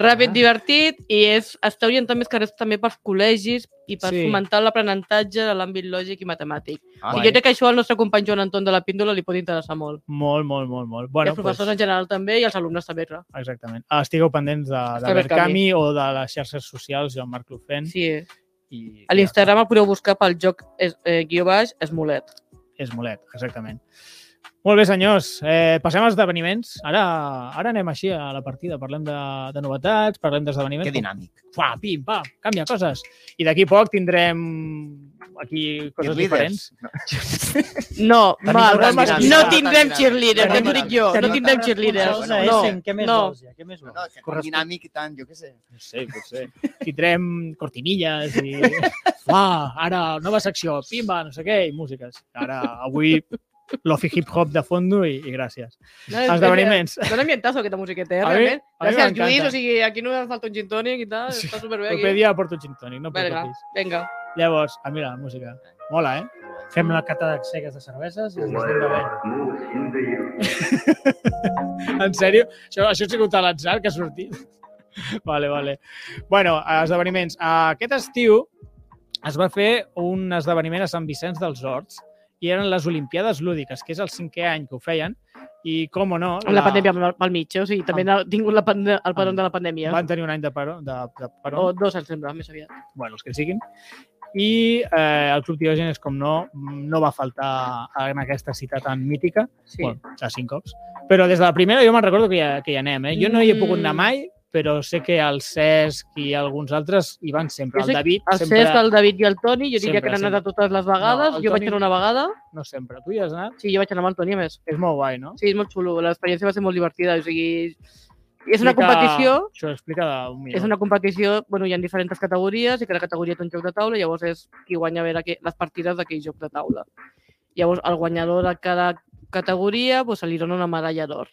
Speaker 2: Ràpid, divertit, i és, està orientat més que res també pels col·legis i per
Speaker 1: Sí.
Speaker 2: sí. fomentar l'aprenentatge de l'àmbit lògic i matemàtic.
Speaker 3: Ah,
Speaker 2: I jo crec que això al nostre company Joan Anton de la Píndola li pot interessar molt.
Speaker 1: Molt, molt, molt, molt. Bueno,
Speaker 2: Bueno, I els professors
Speaker 1: doncs-
Speaker 2: en general també i els alumnes també, clar.
Speaker 1: Exactament. Ah, Estigueu pendents de, de
Speaker 2: Està bé,
Speaker 1: Verkami o de les xarxes socials, Joan Marc Lufent.
Speaker 2: Sí.
Speaker 1: I,
Speaker 2: A l'Instagram el podeu buscar pel joc es, eh, guió baix Esmolet.
Speaker 1: És molet, exactament. Molt bé, senyors. Eh, passem als esdeveniments. Ara, ara anem així a la partida. Parlem de, de novetats, parlem d'esdeveniments.
Speaker 3: Que dinàmic.
Speaker 1: Fuà, pim, pam, canvia coses. I d'aquí a poc tindrem aquí coses
Speaker 3: Cheerleaders.
Speaker 1: diferents.
Speaker 3: No.
Speaker 2: No,
Speaker 4: Tenim
Speaker 2: mal,
Speaker 4: novetats
Speaker 2: mal,
Speaker 4: dinàmiques.
Speaker 2: no tindrem cheerleaders, ja
Speaker 4: Tenim-
Speaker 2: t'ho dic jo. No
Speaker 4: Tenim
Speaker 2: tindrem
Speaker 4: responsables
Speaker 2: cheerleaders.
Speaker 4: a
Speaker 2: No,
Speaker 4: Essen, què més
Speaker 2: no.
Speaker 4: vols, ja? Què més
Speaker 3: No,
Speaker 4: vols?
Speaker 3: no, que tan
Speaker 4: Correspon-
Speaker 3: dinàmic i tant, jo què sé.
Speaker 1: No sé, potser. Tindrem cortinilles i... <laughs> Uà, ara, nova secció, pimba, no sé què, i músiques. Ara, avui, lofi hip-hop de fondo i, i gràcies.
Speaker 2: no
Speaker 1: Esdeveniments.
Speaker 2: Dóna ambientazo aquesta musiqueta, eh,
Speaker 1: A mi-
Speaker 2: realment.
Speaker 1: a mi
Speaker 2: Gràcies,
Speaker 1: m'encanta.
Speaker 2: Lluís, o sigui, aquí no em falta un gin tònic i tal, està superbé
Speaker 1: El
Speaker 2: aquí.
Speaker 1: proper dia porto un gin tònic, no
Speaker 2: Vinga,
Speaker 1: preocupis.
Speaker 2: vinga.
Speaker 1: Llavors, ah, mira, la música. Mola, eh?
Speaker 4: Fem la cata de cegues de cerveses i després anem bevent.
Speaker 1: <laughs> En sèrio? Això, això ha sigut a l'atzar que ha sortit? <laughs> Vale, vale. Bueno, eh, esdeveniments. Aquest estiu es va fer un esdeveniment a Sant Vicenç dels Horts i eren les Olimpiades Lúdiques, que és el cinquè any que ho feien, i, com o no...
Speaker 2: Amb la pandèmia pel- pel mig, eh? o sigui, també
Speaker 1: Ah.
Speaker 2: ha tingut la pande- el padró
Speaker 1: Amb-
Speaker 2: de la pandèmia.
Speaker 1: Van tenir un any de paró, de, de paró
Speaker 2: O dos, em sembla, més aviat.
Speaker 1: bueno, els que siguin. I eh, el Club Diògenes, com no, no va faltar en aquesta cita tan mítica,
Speaker 2: Sí.
Speaker 1: sí. bueno, ja cinc cops. Però des de la primera jo me'n recordo que ja, que hi anem. Eh? Jo no hi he
Speaker 2: Mm.
Speaker 1: pogut anar mai, però sé que el Cesc i alguns altres hi van sempre.
Speaker 2: Jo sé
Speaker 1: El David
Speaker 2: El
Speaker 1: sempre...
Speaker 2: Cesc, el David i el Toni, jo diria
Speaker 1: Sempre,
Speaker 2: que han anat
Speaker 1: sempre.
Speaker 2: a totes les vegades.
Speaker 1: No, el
Speaker 2: jo vaig
Speaker 1: Toni-
Speaker 2: anar una vegada.
Speaker 1: No sempre. Tu hi has anat?
Speaker 2: Sí, jo vaig anar amb el Toni, a més.
Speaker 1: És molt guai, no?
Speaker 2: Sí, és molt xulo. L'experiència va ser molt divertida. O sigui, és una
Speaker 1: Explica-
Speaker 2: competició...
Speaker 1: Això ho explica d'un minut.
Speaker 2: És una competició, bueno, hi ha diferents categories i cada categoria té un joc de taula, llavors és qui guanya a veure que, les partides d'aquell joc de taula. Llavors, el guanyador de cada categoria doncs, se li dona una medalla d'or.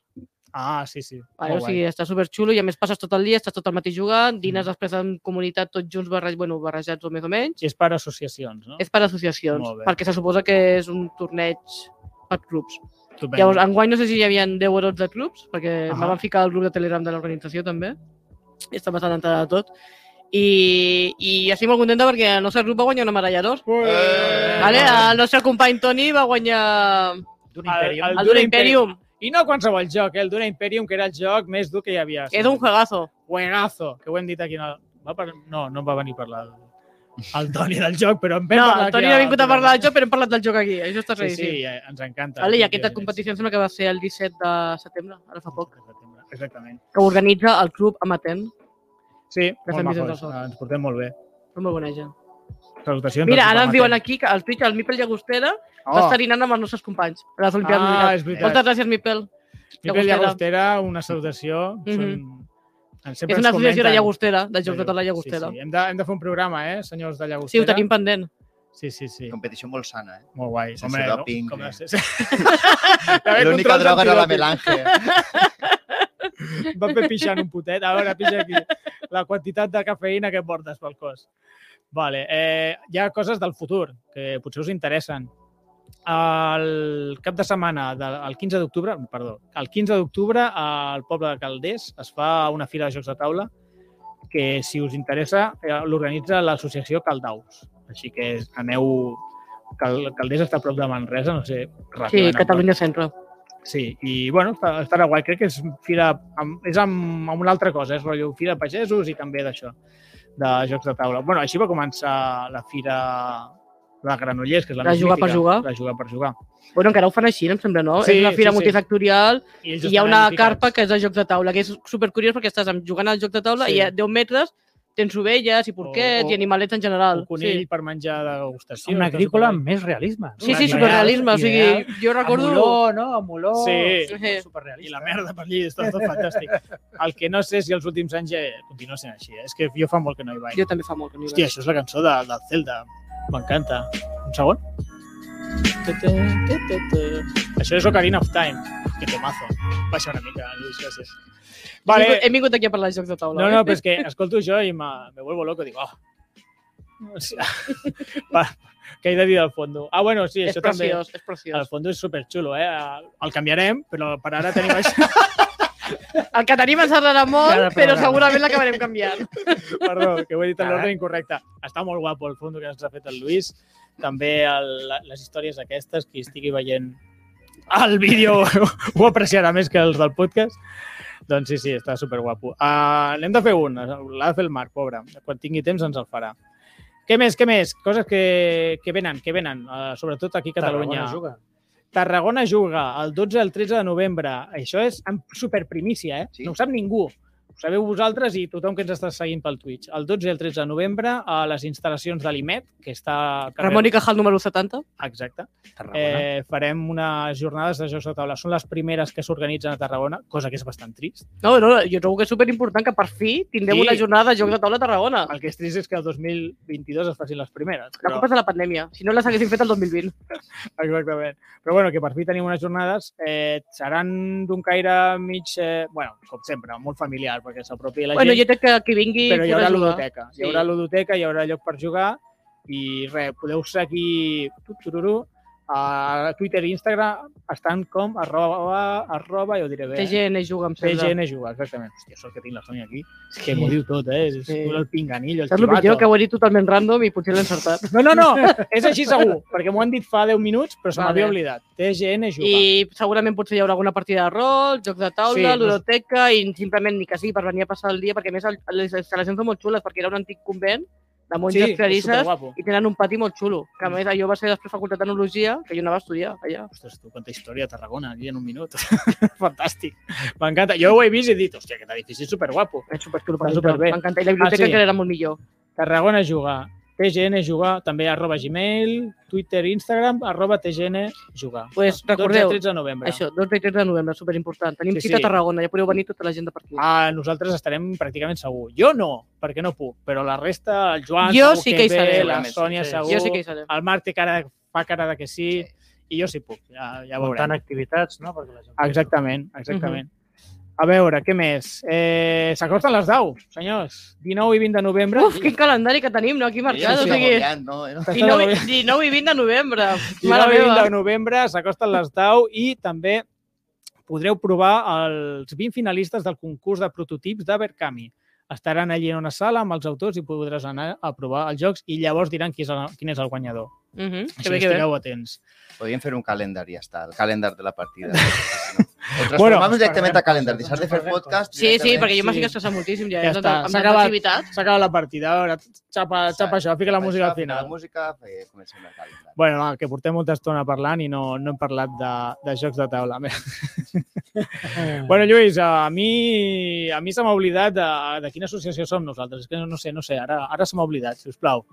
Speaker 1: Ah, sí, sí.
Speaker 2: Vale,
Speaker 1: Molt guai.
Speaker 2: o
Speaker 1: Mm.
Speaker 2: sigui, està superxulo i a més passes tot el dia, estàs tot el matí jugant, dines després en comunitat tots junts barrejats, bueno, barrejats o més o menys.
Speaker 1: I és per associacions, no?
Speaker 2: És per associacions,
Speaker 1: Molt bé.
Speaker 2: perquè se suposa que és un torneig per clubs.
Speaker 1: Estupendo.
Speaker 2: Llavors, enguany no sé si hi havia 10 o 12 clubs, perquè
Speaker 1: Ahà.
Speaker 2: ah. van ficar el grup de Telegram de l'organització també, i està bastant entrada de tot. I, i estic molt contenta perquè el nostre grup va guanyar una medalla d'or.
Speaker 1: Ué!
Speaker 2: Vale? El nostre company Toni va guanyar
Speaker 4: D'un
Speaker 1: El-
Speaker 4: imperi.
Speaker 1: el-
Speaker 2: el Dura Imperium.
Speaker 1: I no qualsevol joc, eh? el Duna Imperium, que era el joc més dur que hi havia.
Speaker 2: Era un juegazo.
Speaker 1: Buenazo, que ho hem dit aquí. No, va per... no, no em va venir a parlar el Toni del joc, però en vam
Speaker 2: No,
Speaker 1: parlar...
Speaker 2: el Toni
Speaker 1: aquí
Speaker 2: no ha
Speaker 1: al
Speaker 2: vingut a
Speaker 1: programa.
Speaker 2: parlar del joc, però hem parlat del joc aquí. Això està
Speaker 1: Sí, sí,
Speaker 2: claríssim.
Speaker 1: eh, ens encanta.
Speaker 2: Vale, I aquesta
Speaker 1: efectivament.
Speaker 2: competició em sembla que va ser el 17 de setembre, ara fa poc,
Speaker 1: Exactament.
Speaker 2: que ho organitza el club amatent.
Speaker 1: Sí,
Speaker 2: fem
Speaker 1: molt
Speaker 2: Vicenç
Speaker 1: macos.
Speaker 2: del Sol.
Speaker 1: Ens portem molt bé.
Speaker 2: Són molt bona gent.
Speaker 1: Salutacions.
Speaker 2: Mira,
Speaker 1: al
Speaker 2: ara
Speaker 1: Supermaten.
Speaker 2: ens diuen aquí que al Twitch el Mipel Llagostera va
Speaker 3: Oh,
Speaker 2: estar dinant amb els nostres companys. A les Olimpiades
Speaker 1: Oh. Ah,
Speaker 2: Mundials.
Speaker 1: és veritat.
Speaker 2: Moltes gràcies, Mipel.
Speaker 1: Miquel
Speaker 2: Llagostera.
Speaker 1: Llagostera, una salutació. Mm
Speaker 2: Mhm.
Speaker 1: -hmm.
Speaker 2: És una associació de Llagostera, de Jocs de la Llagostera.
Speaker 1: Sí, sí. Hem, de, hem de fer un programa, eh, senyors de
Speaker 2: Sí,
Speaker 1: Llagostera.
Speaker 2: ho tenim pendent.
Speaker 1: Sí, sí, sí.
Speaker 3: Competició molt sana, eh?
Speaker 1: Molt guai.
Speaker 3: Sense dòping,
Speaker 1: com
Speaker 3: eh?
Speaker 1: ha de ser? <laughs> Va haver
Speaker 3: L'única
Speaker 1: controls
Speaker 3: droga era la
Speaker 1: antidòping.
Speaker 3: melange.
Speaker 1: <laughs> Va fer pixant un putet. A veure, pixa aquí. La quantitat de cafeïna que portes pel cos. Vale. Eh, hi ha coses del futur que potser us interessen. El cap de setmana, del el 15 d'octubre, perdó, el 15 d'octubre al poble de Calders es fa una fira de jocs de taula que, si us interessa, eh, l'organitza l'associació Caldaus. Així que aneu... Cal, Calders està a prop de Manresa, no sé...
Speaker 2: Sí,
Speaker 1: relativament a prop.
Speaker 2: Catalunya Centre.
Speaker 1: Sí, i bueno, està- estarà guai. Crec que és fira, amb, és amb, amb una altra cosa, és rotllo fira de pagesos i també d'això, de jocs de taula. Bueno, així va començar la fira de Granollers, que és la
Speaker 2: De
Speaker 1: més
Speaker 2: jugar per
Speaker 1: mítica,
Speaker 2: jugar.
Speaker 1: De jugar per jugar.
Speaker 2: Bueno, encara ho fan així, em sembla, no?
Speaker 1: Sí,
Speaker 2: és una fira
Speaker 1: sí, sí.
Speaker 2: multifactorial
Speaker 1: I,
Speaker 2: i hi ha una carpa que és de jocs de taula, que és supercuriós perquè estàs amb- jugant al joc de taula
Speaker 1: Sí.
Speaker 2: i a 10 metres tens ovelles i porquets
Speaker 1: O- o-
Speaker 2: i animalets en
Speaker 1: Un
Speaker 2: general.
Speaker 1: conill
Speaker 2: Sí.
Speaker 1: per menjar de degustació.
Speaker 4: Una
Speaker 1: Tot
Speaker 4: agrícola
Speaker 1: superguai.
Speaker 4: amb més realisme. no?
Speaker 2: Sí, sí,
Speaker 1: Ideal,
Speaker 2: superrealisme. O sigui,
Speaker 4: ideal.
Speaker 2: jo
Speaker 4: A
Speaker 2: recordo...
Speaker 4: Moló, no? A Moló.
Speaker 1: Sí.
Speaker 2: Sí.
Speaker 1: i
Speaker 4: Superrealista.
Speaker 1: la merda per allí, està tot fantàstic. El que no sé si els últims anys ja continua sent així. eh? És que jo fa molt que no hi vaig.
Speaker 2: Jo també fa molt que no hi
Speaker 1: Hòstia,
Speaker 2: vaig.
Speaker 1: això és la cançó de, de Zelda. M'encanta. Un segon. Això és Ocarina of Time. Que tomazo. Baixa una mica, Lluís, gràcies. Vale.
Speaker 2: He vingut aquí a parlar de jocs de taula.
Speaker 1: No,
Speaker 2: eh?
Speaker 1: no, però és que escolto jo i me, me vuelvo loco. Dic, oh. O sea, Va, que he de dir al fondo. Ah, bueno, sí,
Speaker 2: és
Speaker 1: això també.
Speaker 2: preciós, és
Speaker 1: Al
Speaker 2: preciós.
Speaker 1: fondo és superxulo, eh? El canviarem, però per ara tenim això.
Speaker 2: El que tenim ens agradarà
Speaker 4: Cada
Speaker 2: molt, però
Speaker 4: programa.
Speaker 2: segurament l'acabarem
Speaker 1: <laughs>
Speaker 2: canviant.
Speaker 1: Perdó, que ho he dit en
Speaker 4: Ara.
Speaker 1: l'ordre incorrecte. Està molt guapo el fondo que ens ha fet el Lluís. També el, la- les històries aquestes, qui estigui veient el vídeo <laughs> ho apreciarà més que els del podcast. Doncs sí, sí, està superguapo. Uh, n'hem de fer un, l'ha de fer el Marc, pobre. Quan tingui temps ens el farà. Què més, què més? Coses que, que venen, que venen, uh, sobretot aquí a Catalunya.
Speaker 4: Tarragona juga.
Speaker 1: Tarragona juga el 12 al 13 de novembre. Això és en superprimícia, eh?
Speaker 3: Sí.
Speaker 1: No ho sap ningú. Ho sabeu vosaltres i tothom que ens està seguint pel Twitch. El 12 i el 13 de novembre a les instal·lacions de l'IMET, que està... al carrer-
Speaker 2: Ramon i Cajal número 70.
Speaker 1: Exacte.
Speaker 4: Tarragona.
Speaker 1: Eh, farem unes jornades de jocs de taula. Són les primeres que s'organitzen a Tarragona, cosa que és bastant trist.
Speaker 2: No, no, jo trobo que és superimportant que per fi tindrem
Speaker 1: Sí.
Speaker 2: una jornada de jocs de taula a Tarragona.
Speaker 1: El que és trist és que el 2022 es facin les primeres.
Speaker 2: La culpa és de la pandèmia. Si no, les haguéssim fet el 2020.
Speaker 1: Exactament. Però bueno, que per fi tenim unes jornades. Eh, seran d'un caire mig... Eh, bueno, com sempre, molt familiar, perquè s'apropi la
Speaker 2: bueno,
Speaker 1: gent.
Speaker 2: jo crec que qui vingui...
Speaker 1: però hi
Speaker 2: podrà
Speaker 1: haurà
Speaker 2: jugar.
Speaker 1: ludoteca.
Speaker 2: Sí.
Speaker 1: Hi haurà ludoteca, hi haurà lloc per jugar i res, podeu seguir tu, tu, tu, tu, a Twitter i Instagram estan com arroba, arroba, ja ho diré bé. eh?
Speaker 2: TGN juga, em sembla.
Speaker 1: TGN juga, exactament. Hòstia, sort que tinc la Sònia aquí, que m'ho diu tot, eh? És
Speaker 2: Sí.
Speaker 1: el pinganillo, el
Speaker 2: Saps el pitjor? Que
Speaker 1: xivato.
Speaker 2: ho he dit totalment random i potser l'he encertat.
Speaker 1: No, no,
Speaker 2: <laughs>
Speaker 1: no, és així segur, perquè m'ho han dit fa 10 minuts, però se
Speaker 2: Vale.
Speaker 1: m'havia oblidat. TGN juga.
Speaker 2: I segurament potser hi haurà alguna partida de rol, jocs de taula,
Speaker 1: Sí, no-
Speaker 2: sí, ludoteca i simplement ni que sí, per venir a passar el dia, perquè a més el- les instal·lacions són molt xules, perquè era un antic convent de monges sí,
Speaker 1: és
Speaker 2: clarisses
Speaker 1: superguapo.
Speaker 2: i tenen un pati molt xulo, que a més allò va ser després facultat d'enologia, que jo anava a estudiar allà.
Speaker 1: Ostres, tu, quanta història a Tarragona, aquí en un minut. <laughs> Fantàstic. M'encanta. Jo ho he vist i he dit, hòstia, aquest edifici és superguapo.
Speaker 2: És superxulo,
Speaker 1: Està superbé.
Speaker 2: m'encanta. I la biblioteca
Speaker 1: Ah, sí?
Speaker 2: que era molt millor.
Speaker 1: Tarragona jugar, TGN jugar, també arroba Gmail, Twitter, Instagram, arroba TGN jugar.
Speaker 2: Pues,
Speaker 1: 12
Speaker 2: recordeu,
Speaker 1: i 13 de novembre.
Speaker 2: Això, 2 i 3 de novembre, superimportant. Tenim
Speaker 1: Sí,
Speaker 2: sí, cita
Speaker 1: sí.
Speaker 2: a Tarragona, ja podeu venir tota la gent de per aquí.
Speaker 1: Ah, nosaltres estarem pràcticament segur. Jo no, perquè no puc, però la resta, el Joan
Speaker 2: Jo
Speaker 1: segur
Speaker 2: sí que
Speaker 1: que
Speaker 2: hi seré.
Speaker 1: la
Speaker 3: Segurament,
Speaker 1: Sònia
Speaker 4: sí.
Speaker 1: segur,
Speaker 2: jo sí que hi seré.
Speaker 1: el Marc té cara, de- fa cara de que sí, i jo sí puc, ja, ja
Speaker 4: Muntant
Speaker 1: veurem.
Speaker 4: activitats, no? Perquè la gent...
Speaker 1: Exactament, exactament. A veure, què més? Eh, S'acosten les 10, senyors. 19 i 20 de novembre.
Speaker 2: Uf, quin calendari que tenim, no? Aquí marcat,
Speaker 1: sí,
Speaker 2: o sigui...
Speaker 3: agobiant, no?
Speaker 2: 19, i- 19 i 20 de novembre. Mare
Speaker 1: 19 i 20
Speaker 2: meva.
Speaker 1: de novembre, s'acosten les 10 i també podreu provar els 20 finalistes del concurs de prototips d'Abercami. Estaran allí en una sala amb els autors i podràs anar a provar els jocs i llavors diran qui és el, quin és el guanyador.
Speaker 2: Mhm, Que
Speaker 1: Així
Speaker 2: bé, que bé.
Speaker 1: estigueu atents.
Speaker 3: Podríem fer un calendar i ja està, el calendar de la partida. Ho transformem
Speaker 1: Bueno,
Speaker 3: directament a
Speaker 4: parlem,
Speaker 3: calendar,
Speaker 4: parlem,
Speaker 3: deixar de fer
Speaker 4: parlem,
Speaker 3: podcast.
Speaker 2: Sí, sí,
Speaker 3: directament.
Speaker 2: perquè jo
Speaker 1: Sí.
Speaker 2: m'estic estressant moltíssim ja,
Speaker 1: Ja
Speaker 2: ja
Speaker 1: està,
Speaker 2: està, amb
Speaker 1: s'ha
Speaker 2: tanta
Speaker 1: acabat.
Speaker 2: activitat.
Speaker 1: S'acaba la partida, a veure, xapa, xapa això, fica la música al
Speaker 3: Deixar de fer
Speaker 1: final.
Speaker 3: La música, fer- comencem el calendar.
Speaker 1: Bueno, va, que portem molta estona parlant i no, no hem parlat de, de jocs de taula.
Speaker 4: Eh.
Speaker 1: bueno, Lluís, a mi, a mi se m'ha oblidat de, de quina associació som nosaltres. És que no sé, no sé, ara, ara se m'ha oblidat, si us plau.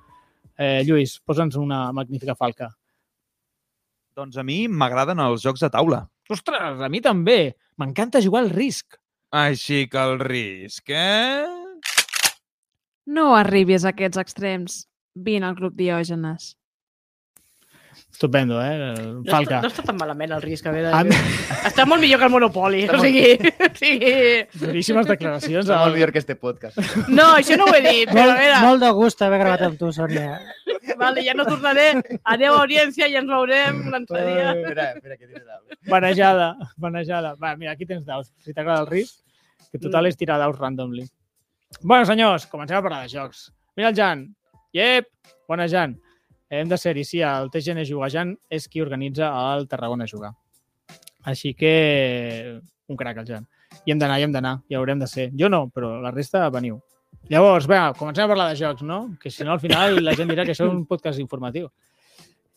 Speaker 1: Eh, Lluís, posa'ns una magnífica falca.
Speaker 6: Doncs a mi m'agraden els jocs de taula.
Speaker 1: Ostres, a mi també. M'encanta jugar al risc.
Speaker 6: Així que el risc, eh?
Speaker 7: No arribis a aquests extrems. Vine al Club Diògenes.
Speaker 1: Estupendo, eh?
Speaker 2: No està,
Speaker 1: <laughs> Falca.
Speaker 2: no està tan malament el risc, a veure.
Speaker 1: A mi,
Speaker 2: Està molt millor que el Monopoli, o sigui... <laughs> O sigui...
Speaker 1: duríssimes declaracions.
Speaker 3: Està molt
Speaker 1: Al...
Speaker 3: millor que este
Speaker 1: <laughs>
Speaker 3: podcast.
Speaker 2: No, això no ho he dit, però a
Speaker 4: Molt,
Speaker 2: veure,
Speaker 4: molt de gust haver gravat amb tu, Sònia.
Speaker 2: vale, ja no tornaré. Adeu, audiència, ja ens veurem un altre dia.
Speaker 3: Espera, espera, que tira la...
Speaker 1: Manejada, manejada. Va, mira, aquí tens daus. Si t'agrada el risc, que total és tirar daus randomly. Bueno, senyors, comencem a parlar de jocs. Mira el Jan. Yep! Bona, Jan. Hem de ser-hi, sí, el TGN Juga. Jan és qui organitza el Tarragona Juga. Així que, un crac, el Jan. I hem d'anar, i hem d'anar, hi haurem de ser. Jo no, però la resta veniu. Llavors, vinga, comencem a parlar de jocs, no? Que si no, al final la gent dirà que això és un podcast informatiu.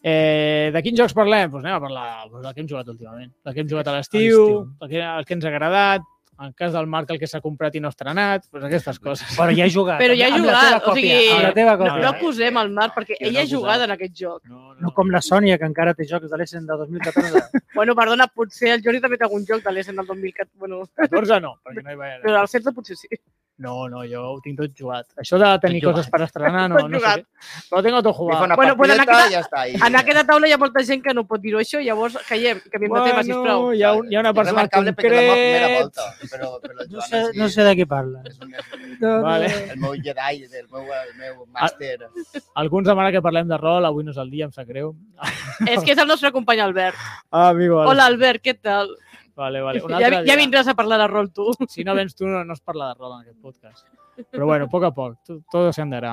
Speaker 1: Eh, de quins jocs parlem? Doncs anem a parlar doncs, del que hem jugat últimament. Del que hem jugat a l'estiu,
Speaker 4: l'estiu.
Speaker 1: el, que, el que ens ha agradat, en el cas del Marc, el que s'ha comprat i no ha estrenat, doncs aquestes <laughs> coses.
Speaker 4: Però ja he jugat.
Speaker 2: Però ja he
Speaker 4: Amb la
Speaker 2: jugat,
Speaker 4: teva
Speaker 2: o
Speaker 4: còpia,
Speaker 2: sigui,
Speaker 4: Amb la teva còpia.
Speaker 2: No
Speaker 4: eh?
Speaker 2: acusem el Marc, perquè
Speaker 3: Jo no
Speaker 2: ell ha
Speaker 3: acusava.
Speaker 2: jugat en aquest joc.
Speaker 1: No,
Speaker 4: No com la Sònia, que encara té jocs de l'Essen de 2014.
Speaker 2: Bueno, perdona, potser el Jordi també té algun joc de l'Essen del 2014, bueno,
Speaker 1: 14 no, perquè no hi va
Speaker 2: però
Speaker 1: haver.
Speaker 2: el 16 potser sí.
Speaker 1: No, no, jo ho tinc tot jugat. Això de tenir
Speaker 3: Tot
Speaker 1: coses per <laughs> estrenar, no,
Speaker 2: Tot
Speaker 1: no sé.
Speaker 2: jugat.
Speaker 1: què. Lo tengo tot
Speaker 3: Li fa
Speaker 1: jugat.
Speaker 3: una
Speaker 2: Bueno,
Speaker 3: bueno,
Speaker 2: pues en
Speaker 3: partideta
Speaker 2: aquesta-
Speaker 3: i ja està. I...
Speaker 2: En aquesta taula hi ha molta gent que no pot dir-ho això, llavors callem, canviem de tema, sisplau.
Speaker 1: hi ha, un, hi ha una
Speaker 3: És
Speaker 1: persona en
Speaker 3: remarcable perquè és la meva primera
Speaker 1: concret...
Speaker 3: volta, però, però el Joan
Speaker 4: No sé,
Speaker 3: és,
Speaker 4: no sé de què parla.
Speaker 3: és, un, és
Speaker 1: Vale.
Speaker 3: el meu Jedi, és el meu, el meu
Speaker 1: Ah,
Speaker 3: màster.
Speaker 1: Alguns demanen que parlem de rol, avui no és el dia, em sap greu.
Speaker 2: És que és el nostre company Albert.
Speaker 1: Ah, amigo, vale.
Speaker 2: Hola, Albert, què tal?
Speaker 1: Vale, vale. Un
Speaker 2: Ja,
Speaker 1: altre
Speaker 2: vi- ja
Speaker 1: dia.
Speaker 2: vindràs a parlar de rol, tu.
Speaker 1: Si no vens tu, no, no es parla de rol en aquest podcast. Però bueno, a poc a poc, tu- tot s'andarà.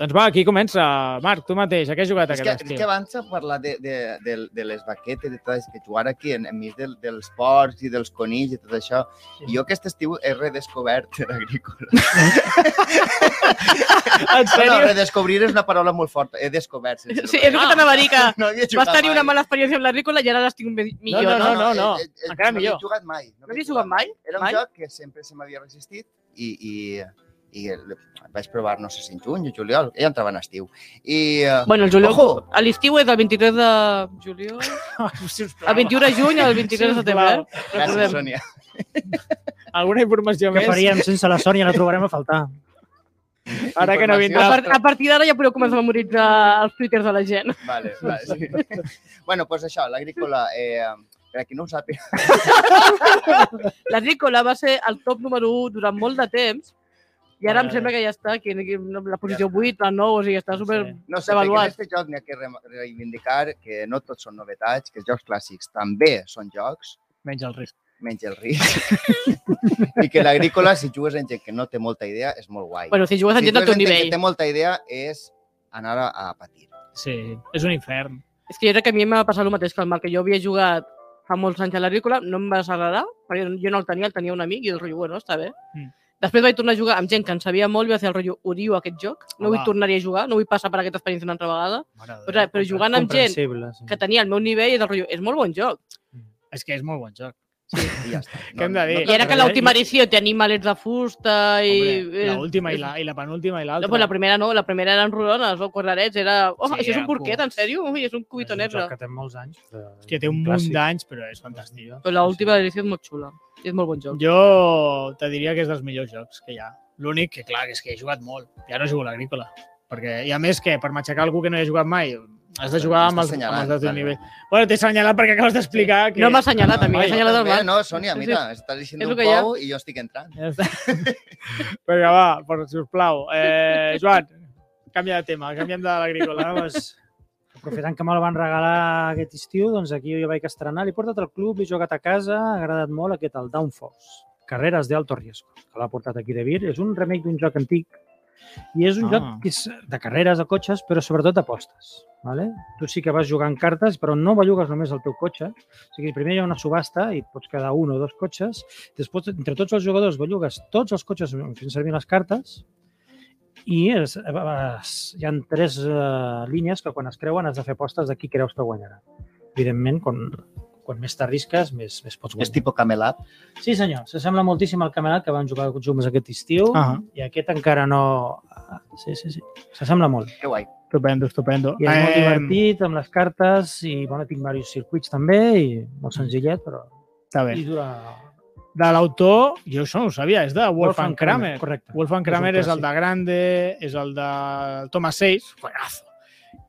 Speaker 1: Doncs va, aquí comença. Marc, tu mateix, a què has jugat
Speaker 3: És
Speaker 1: aquest
Speaker 3: que, és
Speaker 1: estiu?
Speaker 3: que abans a parlar de, de, de, de les baquetes, de tot això, que jugar aquí en, enmig del, dels porcs i dels conills i tot això, i jo aquest estiu he redescobert <laughs> l'agrícola.
Speaker 1: En
Speaker 3: No,
Speaker 1: sèrio?
Speaker 3: redescobrir és una paraula molt forta. He descobert. Sense Ah,
Speaker 2: Sí, és el que t'anava a dir, que
Speaker 3: No havia
Speaker 2: vas
Speaker 3: jugat
Speaker 2: tenir una
Speaker 3: mai.
Speaker 2: mala experiència amb l'agrícola i ara les tinc mi- millor,
Speaker 1: No,
Speaker 2: no?
Speaker 1: no, no, no, no.
Speaker 3: eh, eh,
Speaker 1: Encara
Speaker 3: no
Speaker 1: millor.
Speaker 3: No jugat mai.
Speaker 2: No havia jugat mai?
Speaker 3: Era un
Speaker 2: Mai?
Speaker 3: joc que sempre se m'havia resistit i, i, i el- vaig provar, no sé si en juny o juliol, ja entrava en estiu. I, eh,
Speaker 2: Bueno, el juliol,
Speaker 3: Ojo!
Speaker 2: a l'estiu és el 23 de juliol,
Speaker 1: Si us plau.
Speaker 2: el 21 de juny, el 23 de setembre,
Speaker 1: Sisplau.
Speaker 2: eh?
Speaker 3: gràcies,
Speaker 2: recordem.
Speaker 3: Sònia.
Speaker 1: Alguna informació
Speaker 4: Què
Speaker 1: més?
Speaker 4: faríem sense la Sònia? La trobarem a faltar.
Speaker 1: Ara que no
Speaker 2: A,
Speaker 1: vindrà.
Speaker 2: par a partir d'ara ja podeu començar a memoritzar els twitters de la gent.
Speaker 3: Vale, vale, sí. <laughs> bueno, doncs això, l'agrícola, eh, per a qui no
Speaker 2: <laughs>
Speaker 3: ho sàpiga,
Speaker 2: La Nicola va ser el top número 1 durant molt de temps i ara em
Speaker 1: Vale.
Speaker 2: sembla que ja està, que que la
Speaker 3: Ja
Speaker 2: posició
Speaker 3: està.
Speaker 2: 8, la 9, o sigui, està super...
Speaker 3: no sé, perquè en
Speaker 2: Avaluat.
Speaker 3: aquest joc n'hi ha que re- reivindicar que no tots són novetats, que els jocs clàssics també són jocs,
Speaker 1: Menys el risc.
Speaker 3: menys el
Speaker 2: <laughs>
Speaker 3: risc, i que l'agrícola, si jugues en gent que no té molta idea, és molt guai.
Speaker 2: Bueno, si jugues a
Speaker 3: si
Speaker 2: gent del teu
Speaker 3: jugues en gent que
Speaker 2: nivell.
Speaker 3: té molta idea, és anar a, a patir.
Speaker 1: Sí, és un infern.
Speaker 2: És que jo crec que a mi em va passar el mateix que el Marc, que jo havia jugat fa molts anys a l'agrícola, no em va desagradar, perquè jo no el tenia, el tenia un amic i el rotllo, bueno, està bé.
Speaker 1: Mm.
Speaker 2: Després vaig tornar a jugar amb gent que en sabia molt i va fer el rotllo, odio aquest joc, no
Speaker 1: Home.
Speaker 2: vull tornar-hi a jugar, no vull passar per aquesta experiència una altra vegada.
Speaker 1: Mare de
Speaker 2: Però,
Speaker 1: Déu.
Speaker 2: però jugant amb gent
Speaker 4: Comprensible, sí.
Speaker 2: que tenia el meu nivell, és el rotllo, és molt bon joc.
Speaker 1: És que és molt bon joc.
Speaker 3: I
Speaker 2: <laughs>
Speaker 3: ja està.
Speaker 1: Què hem de dir?
Speaker 2: I era
Speaker 1: Però,
Speaker 2: que
Speaker 1: eh,
Speaker 2: l'última edició té animalets de fusta i...
Speaker 1: Hombre,
Speaker 3: eh,
Speaker 2: és-
Speaker 1: l'última i,
Speaker 2: és-
Speaker 1: la, i la penúltima i l'altra.
Speaker 2: No, pues la primera no, la primera eren rodones o quadradets, era... Oh,
Speaker 1: Sí,
Speaker 2: sí, això és
Speaker 1: era
Speaker 2: un porquet,
Speaker 1: cul.
Speaker 2: en sèrio? Ui, és un cubito
Speaker 4: És un
Speaker 2: negre.
Speaker 4: joc que té molts anys. Però...
Speaker 1: que té un munt
Speaker 4: clàssic.
Speaker 1: d'anys, però és fantàstic.
Speaker 2: Però l'última edició és molt xula. És molt bon joc.
Speaker 1: Jo te diria que és dels millors jocs que hi ha. L'únic que, clar, que és que he jugat molt. Ja no jugo a l'agrícola. Perquè, I a més, que per matxacar algú que no hi ha jugat mai, has de jugar amb els, amb els de teu nivell. Bueno, t'he assenyalat perquè acabes d'explicar que...
Speaker 2: No m'ha assenyalat a mi, m'ha
Speaker 1: Ai,
Speaker 2: assenyalat al
Speaker 3: Bé,
Speaker 2: Marc.
Speaker 3: no, Sònia, mira, estàs dient
Speaker 2: És
Speaker 3: un
Speaker 2: el que hi ha.
Speaker 3: pou i jo estic entrant.
Speaker 1: Ja està. Vinga, va, per, sisplau. Eh, Joan, canvia de tema, canviem de
Speaker 4: <laughs>
Speaker 1: l'agrícola.
Speaker 4: Bueno, doncs, aprofitant que me la van regalar aquest estiu, doncs aquí jo vaig estrenar, l'he portat al club, l'he jugat a casa, ha agradat molt aquest, el Downforce, Carreres d'Alto Riesgo, que l'ha portat aquí de Vir. És un remake d'un joc antic I és un
Speaker 1: Ah.
Speaker 4: joc que és de carreres, de cotxes, però sobretot d'apostes. Vale? Tu sí que vas jugant cartes, però no bellugues només el teu cotxe. O sigui, primer hi ha una subhasta i et pots quedar un o dos cotxes. Després, entre tots els jugadors, bellugues tots els cotxes fent servir les cartes i es, es, hi han tres eh, línies que quan es creuen has de fer apostes de qui creus que guanyarà. Evidentment, quan, quan més t'arrisques, més, més pots guanyar.
Speaker 3: És tipus Camel Up.
Speaker 4: Sí, senyor. S'assembla moltíssim al Camelat que vam jugar junts aquest estiu
Speaker 1: Ah.
Speaker 4: i aquest encara no... Ah, Sí, sí, sí. S'assembla molt.
Speaker 3: Que guai.
Speaker 1: Estupendo, estupendo.
Speaker 4: I és molt
Speaker 1: Em,
Speaker 4: divertit amb les cartes i, bueno, tinc diversos circuits també i molt senzillet, però...
Speaker 1: Està bé.
Speaker 4: I dura...
Speaker 1: De l'autor, jo això no ho sabia, és de Wolfgang Kramer.
Speaker 4: Correcte.
Speaker 1: Wolfgang
Speaker 4: És un
Speaker 1: Kramer és el de
Speaker 4: clàssic.
Speaker 1: Grande, és el de Thomas Seix, juegazo,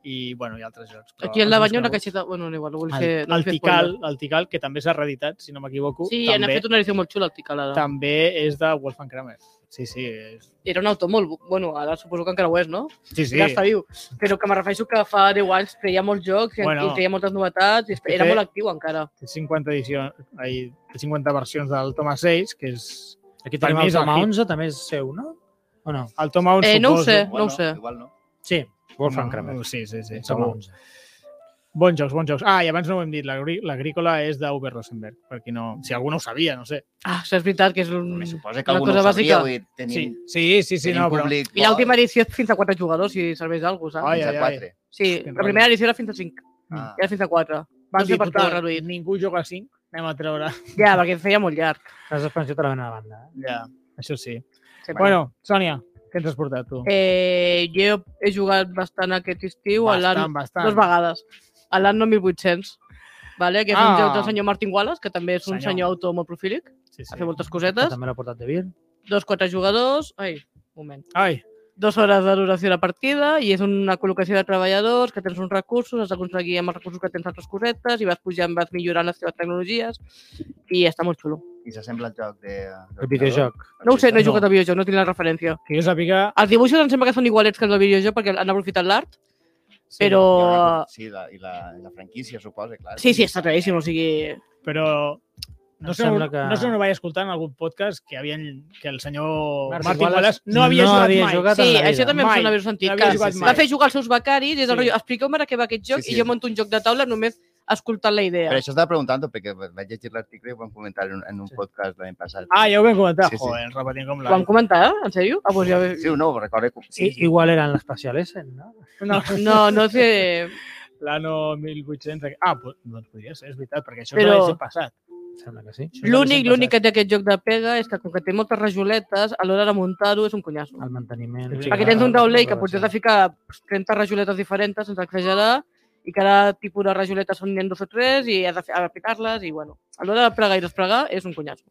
Speaker 1: i, bueno, hi ha altres jocs. però
Speaker 2: Aquí en la
Speaker 1: els més
Speaker 2: banya una
Speaker 1: coneguts.
Speaker 2: caixeta... Bueno, no, igual, no vull
Speaker 1: El,
Speaker 2: fer... No
Speaker 1: el,
Speaker 2: vull fer
Speaker 1: Tical,
Speaker 2: spoiler.
Speaker 1: el Tical, que també s'ha reeditat, si no m'equivoco,
Speaker 2: Sí, també.
Speaker 1: també,
Speaker 2: n'ha fet una edició molt xula, el Tical, ara.
Speaker 1: també és de Wolfgang Kramer. Sí, sí, és...
Speaker 2: Era un autor molt... bu- Bueno, ara suposo que encara ho és, no?
Speaker 1: sí, sí.
Speaker 2: Ja està viu. Però que me refereixo que fa 10 anys treia molts jocs i,
Speaker 1: Bueno.
Speaker 2: bueno, i treia moltes novetats. I
Speaker 1: Que
Speaker 2: era
Speaker 1: té-
Speaker 2: molt actiu encara.
Speaker 1: Té 50 edicions, ai, té 50 versions del Thomas Seix, que és...
Speaker 4: Aquí
Speaker 1: Per
Speaker 4: tenim
Speaker 1: mi
Speaker 4: el
Speaker 1: és el
Speaker 4: Toma
Speaker 1: hit.
Speaker 4: 11, també és seu, no? O no?
Speaker 1: El Toma 1,
Speaker 2: Eh, no ho
Speaker 1: suposo.
Speaker 2: sé.
Speaker 3: Bueno,
Speaker 2: ho sé.
Speaker 3: Igual no.
Speaker 4: Sí, Wolfgang Kramer.
Speaker 1: No, sí, sí, sí,
Speaker 4: Toma
Speaker 1: segur.
Speaker 4: 11.
Speaker 1: Bons jocs, bons jocs. Ah, i abans no ho hem dit, l'agrí- l'agrícola és d'Uwe Rosenberg, perquè no, si algú no ho sabia, no sé.
Speaker 2: Ah, això és veritat que és un...
Speaker 3: Me suposa que
Speaker 2: Una
Speaker 3: algú no
Speaker 2: cosa
Speaker 3: ho sabria,
Speaker 2: bàsica.
Speaker 3: vull dir, tenim,
Speaker 1: Sí, sí, sí, sí
Speaker 3: tenim
Speaker 1: no, però...
Speaker 3: públic.
Speaker 2: I l'última edició és fins a 4 jugadors, si serveix d'alguna cosa,
Speaker 1: Ai,
Speaker 2: saps?
Speaker 3: Fins a
Speaker 1: ai, ai.
Speaker 3: quatre.
Speaker 2: Sí,
Speaker 1: que
Speaker 2: la
Speaker 1: raro.
Speaker 2: primera edició era fins a 5,
Speaker 3: Ah.
Speaker 2: era fins a 4.
Speaker 1: Van
Speaker 2: No sé
Speaker 1: dir,
Speaker 2: per què ho
Speaker 1: "Total,
Speaker 2: han reduït".
Speaker 1: ningú juga a 5, anem a treure.
Speaker 2: Ja, perquè feia molt llarg.
Speaker 4: Casa expansió te la venen a banda. Eh?
Speaker 1: Ja, això sí.
Speaker 2: sempre.
Speaker 1: Bueno, Sònia, què ens has portat tu?
Speaker 2: Eh, jo he jugat bastant aquest estiu, a l'An
Speaker 1: bastant.
Speaker 2: dues vegades, a l'Anno 1800, vale? que és
Speaker 1: Ah.
Speaker 2: un joc del senyor Martin Wallace, que també és un
Speaker 1: Senyor.
Speaker 2: senyor, autor molt profílic,
Speaker 1: Sí,
Speaker 2: ha fet
Speaker 1: sí.
Speaker 2: moltes
Speaker 4: Que
Speaker 2: cosetes,
Speaker 4: també l'ha portat de Vir.
Speaker 2: dos, quatre jugadors... Ai, un moment.
Speaker 1: Ai,
Speaker 2: Dos hores de duració de partida i és una col·locació de treballadors que tens uns recursos, has d'aconseguir amb els recursos que tens altres cosetes i vas pujant, vas millorant les teves tecnologies i està molt xulo.
Speaker 3: I s'assembla al joc de...
Speaker 4: El videojoc.
Speaker 2: No ho sé, no he
Speaker 1: No.
Speaker 2: jugat a videojoc, no tinc la referència.
Speaker 1: que jo sàpiga...
Speaker 2: Els dibuixos em sembla que són igualets que els del videojoc perquè han aprofitat l'art,
Speaker 1: Sí,
Speaker 2: però...
Speaker 3: Sí, la, i la, la franquícia, suposa, clar.
Speaker 2: Sí, sí, està claríssim, o sigui...
Speaker 1: Però... No
Speaker 4: Em
Speaker 1: sé, on,
Speaker 4: sembla que-
Speaker 1: no sé on ho vaig escoltar en algun podcast que, havien, que el senyor
Speaker 4: Martin
Speaker 1: Martin, Wallace,
Speaker 4: Wallace
Speaker 1: no havia
Speaker 4: no
Speaker 1: jugat
Speaker 4: havia
Speaker 1: mai.
Speaker 4: jugat
Speaker 2: Sí,
Speaker 4: en la vida.
Speaker 2: això també em
Speaker 1: Mai.
Speaker 2: sona haver-ho sentit.
Speaker 1: No havia
Speaker 2: Que
Speaker 1: jugat
Speaker 2: va
Speaker 1: mai.
Speaker 2: fer jugar els seus becaris, és
Speaker 1: Sí.
Speaker 2: el rotllo, expliqueu-me de què va aquest joc
Speaker 3: Sí, sí.
Speaker 2: i jo monto un joc de taula només escoltant la idea.
Speaker 3: Però això estava preguntant perquè vaig llegir l'article i ho vam comentar en un, en un
Speaker 4: Sí.
Speaker 3: podcast l'any passat.
Speaker 1: Ah, ja ho vam comentar.
Speaker 3: Sí,
Speaker 1: Sí,
Speaker 3: sí.
Speaker 1: sí. Joder, repetint com
Speaker 2: Ho vam
Speaker 1: l'any.
Speaker 2: comentar, en sèrio? Ah, doncs ja... ve-
Speaker 3: Sí o no, ho recordo. que-
Speaker 4: I, igual eren l'especial Essen, no?
Speaker 1: No,
Speaker 2: No, no sé...
Speaker 1: L'ano 1800... Ah, pues, doncs podria ser, és veritat, perquè això
Speaker 2: Però-
Speaker 1: però... és passat.
Speaker 4: Em Sembla que sí.
Speaker 1: Això
Speaker 2: L'únic,
Speaker 1: és
Speaker 2: l'únic
Speaker 1: passat.
Speaker 2: que té aquest joc de pega és que com que té moltes rajoletes, a l'hora de muntar-ho és un conyasso.
Speaker 4: El manteniment...
Speaker 1: Sí,
Speaker 4: Ah, sí, ah,
Speaker 2: Perquè
Speaker 1: clar,
Speaker 2: tens un
Speaker 1: clar,
Speaker 2: taulell que potser has de ficar 30 rajoletes diferents sense exagerar i cada tipus de rajoletes són n'hi ha dos o tres i has de fer- has d'aplicar-les i, bueno, a l'hora de plegar i desplegar és un conyasso.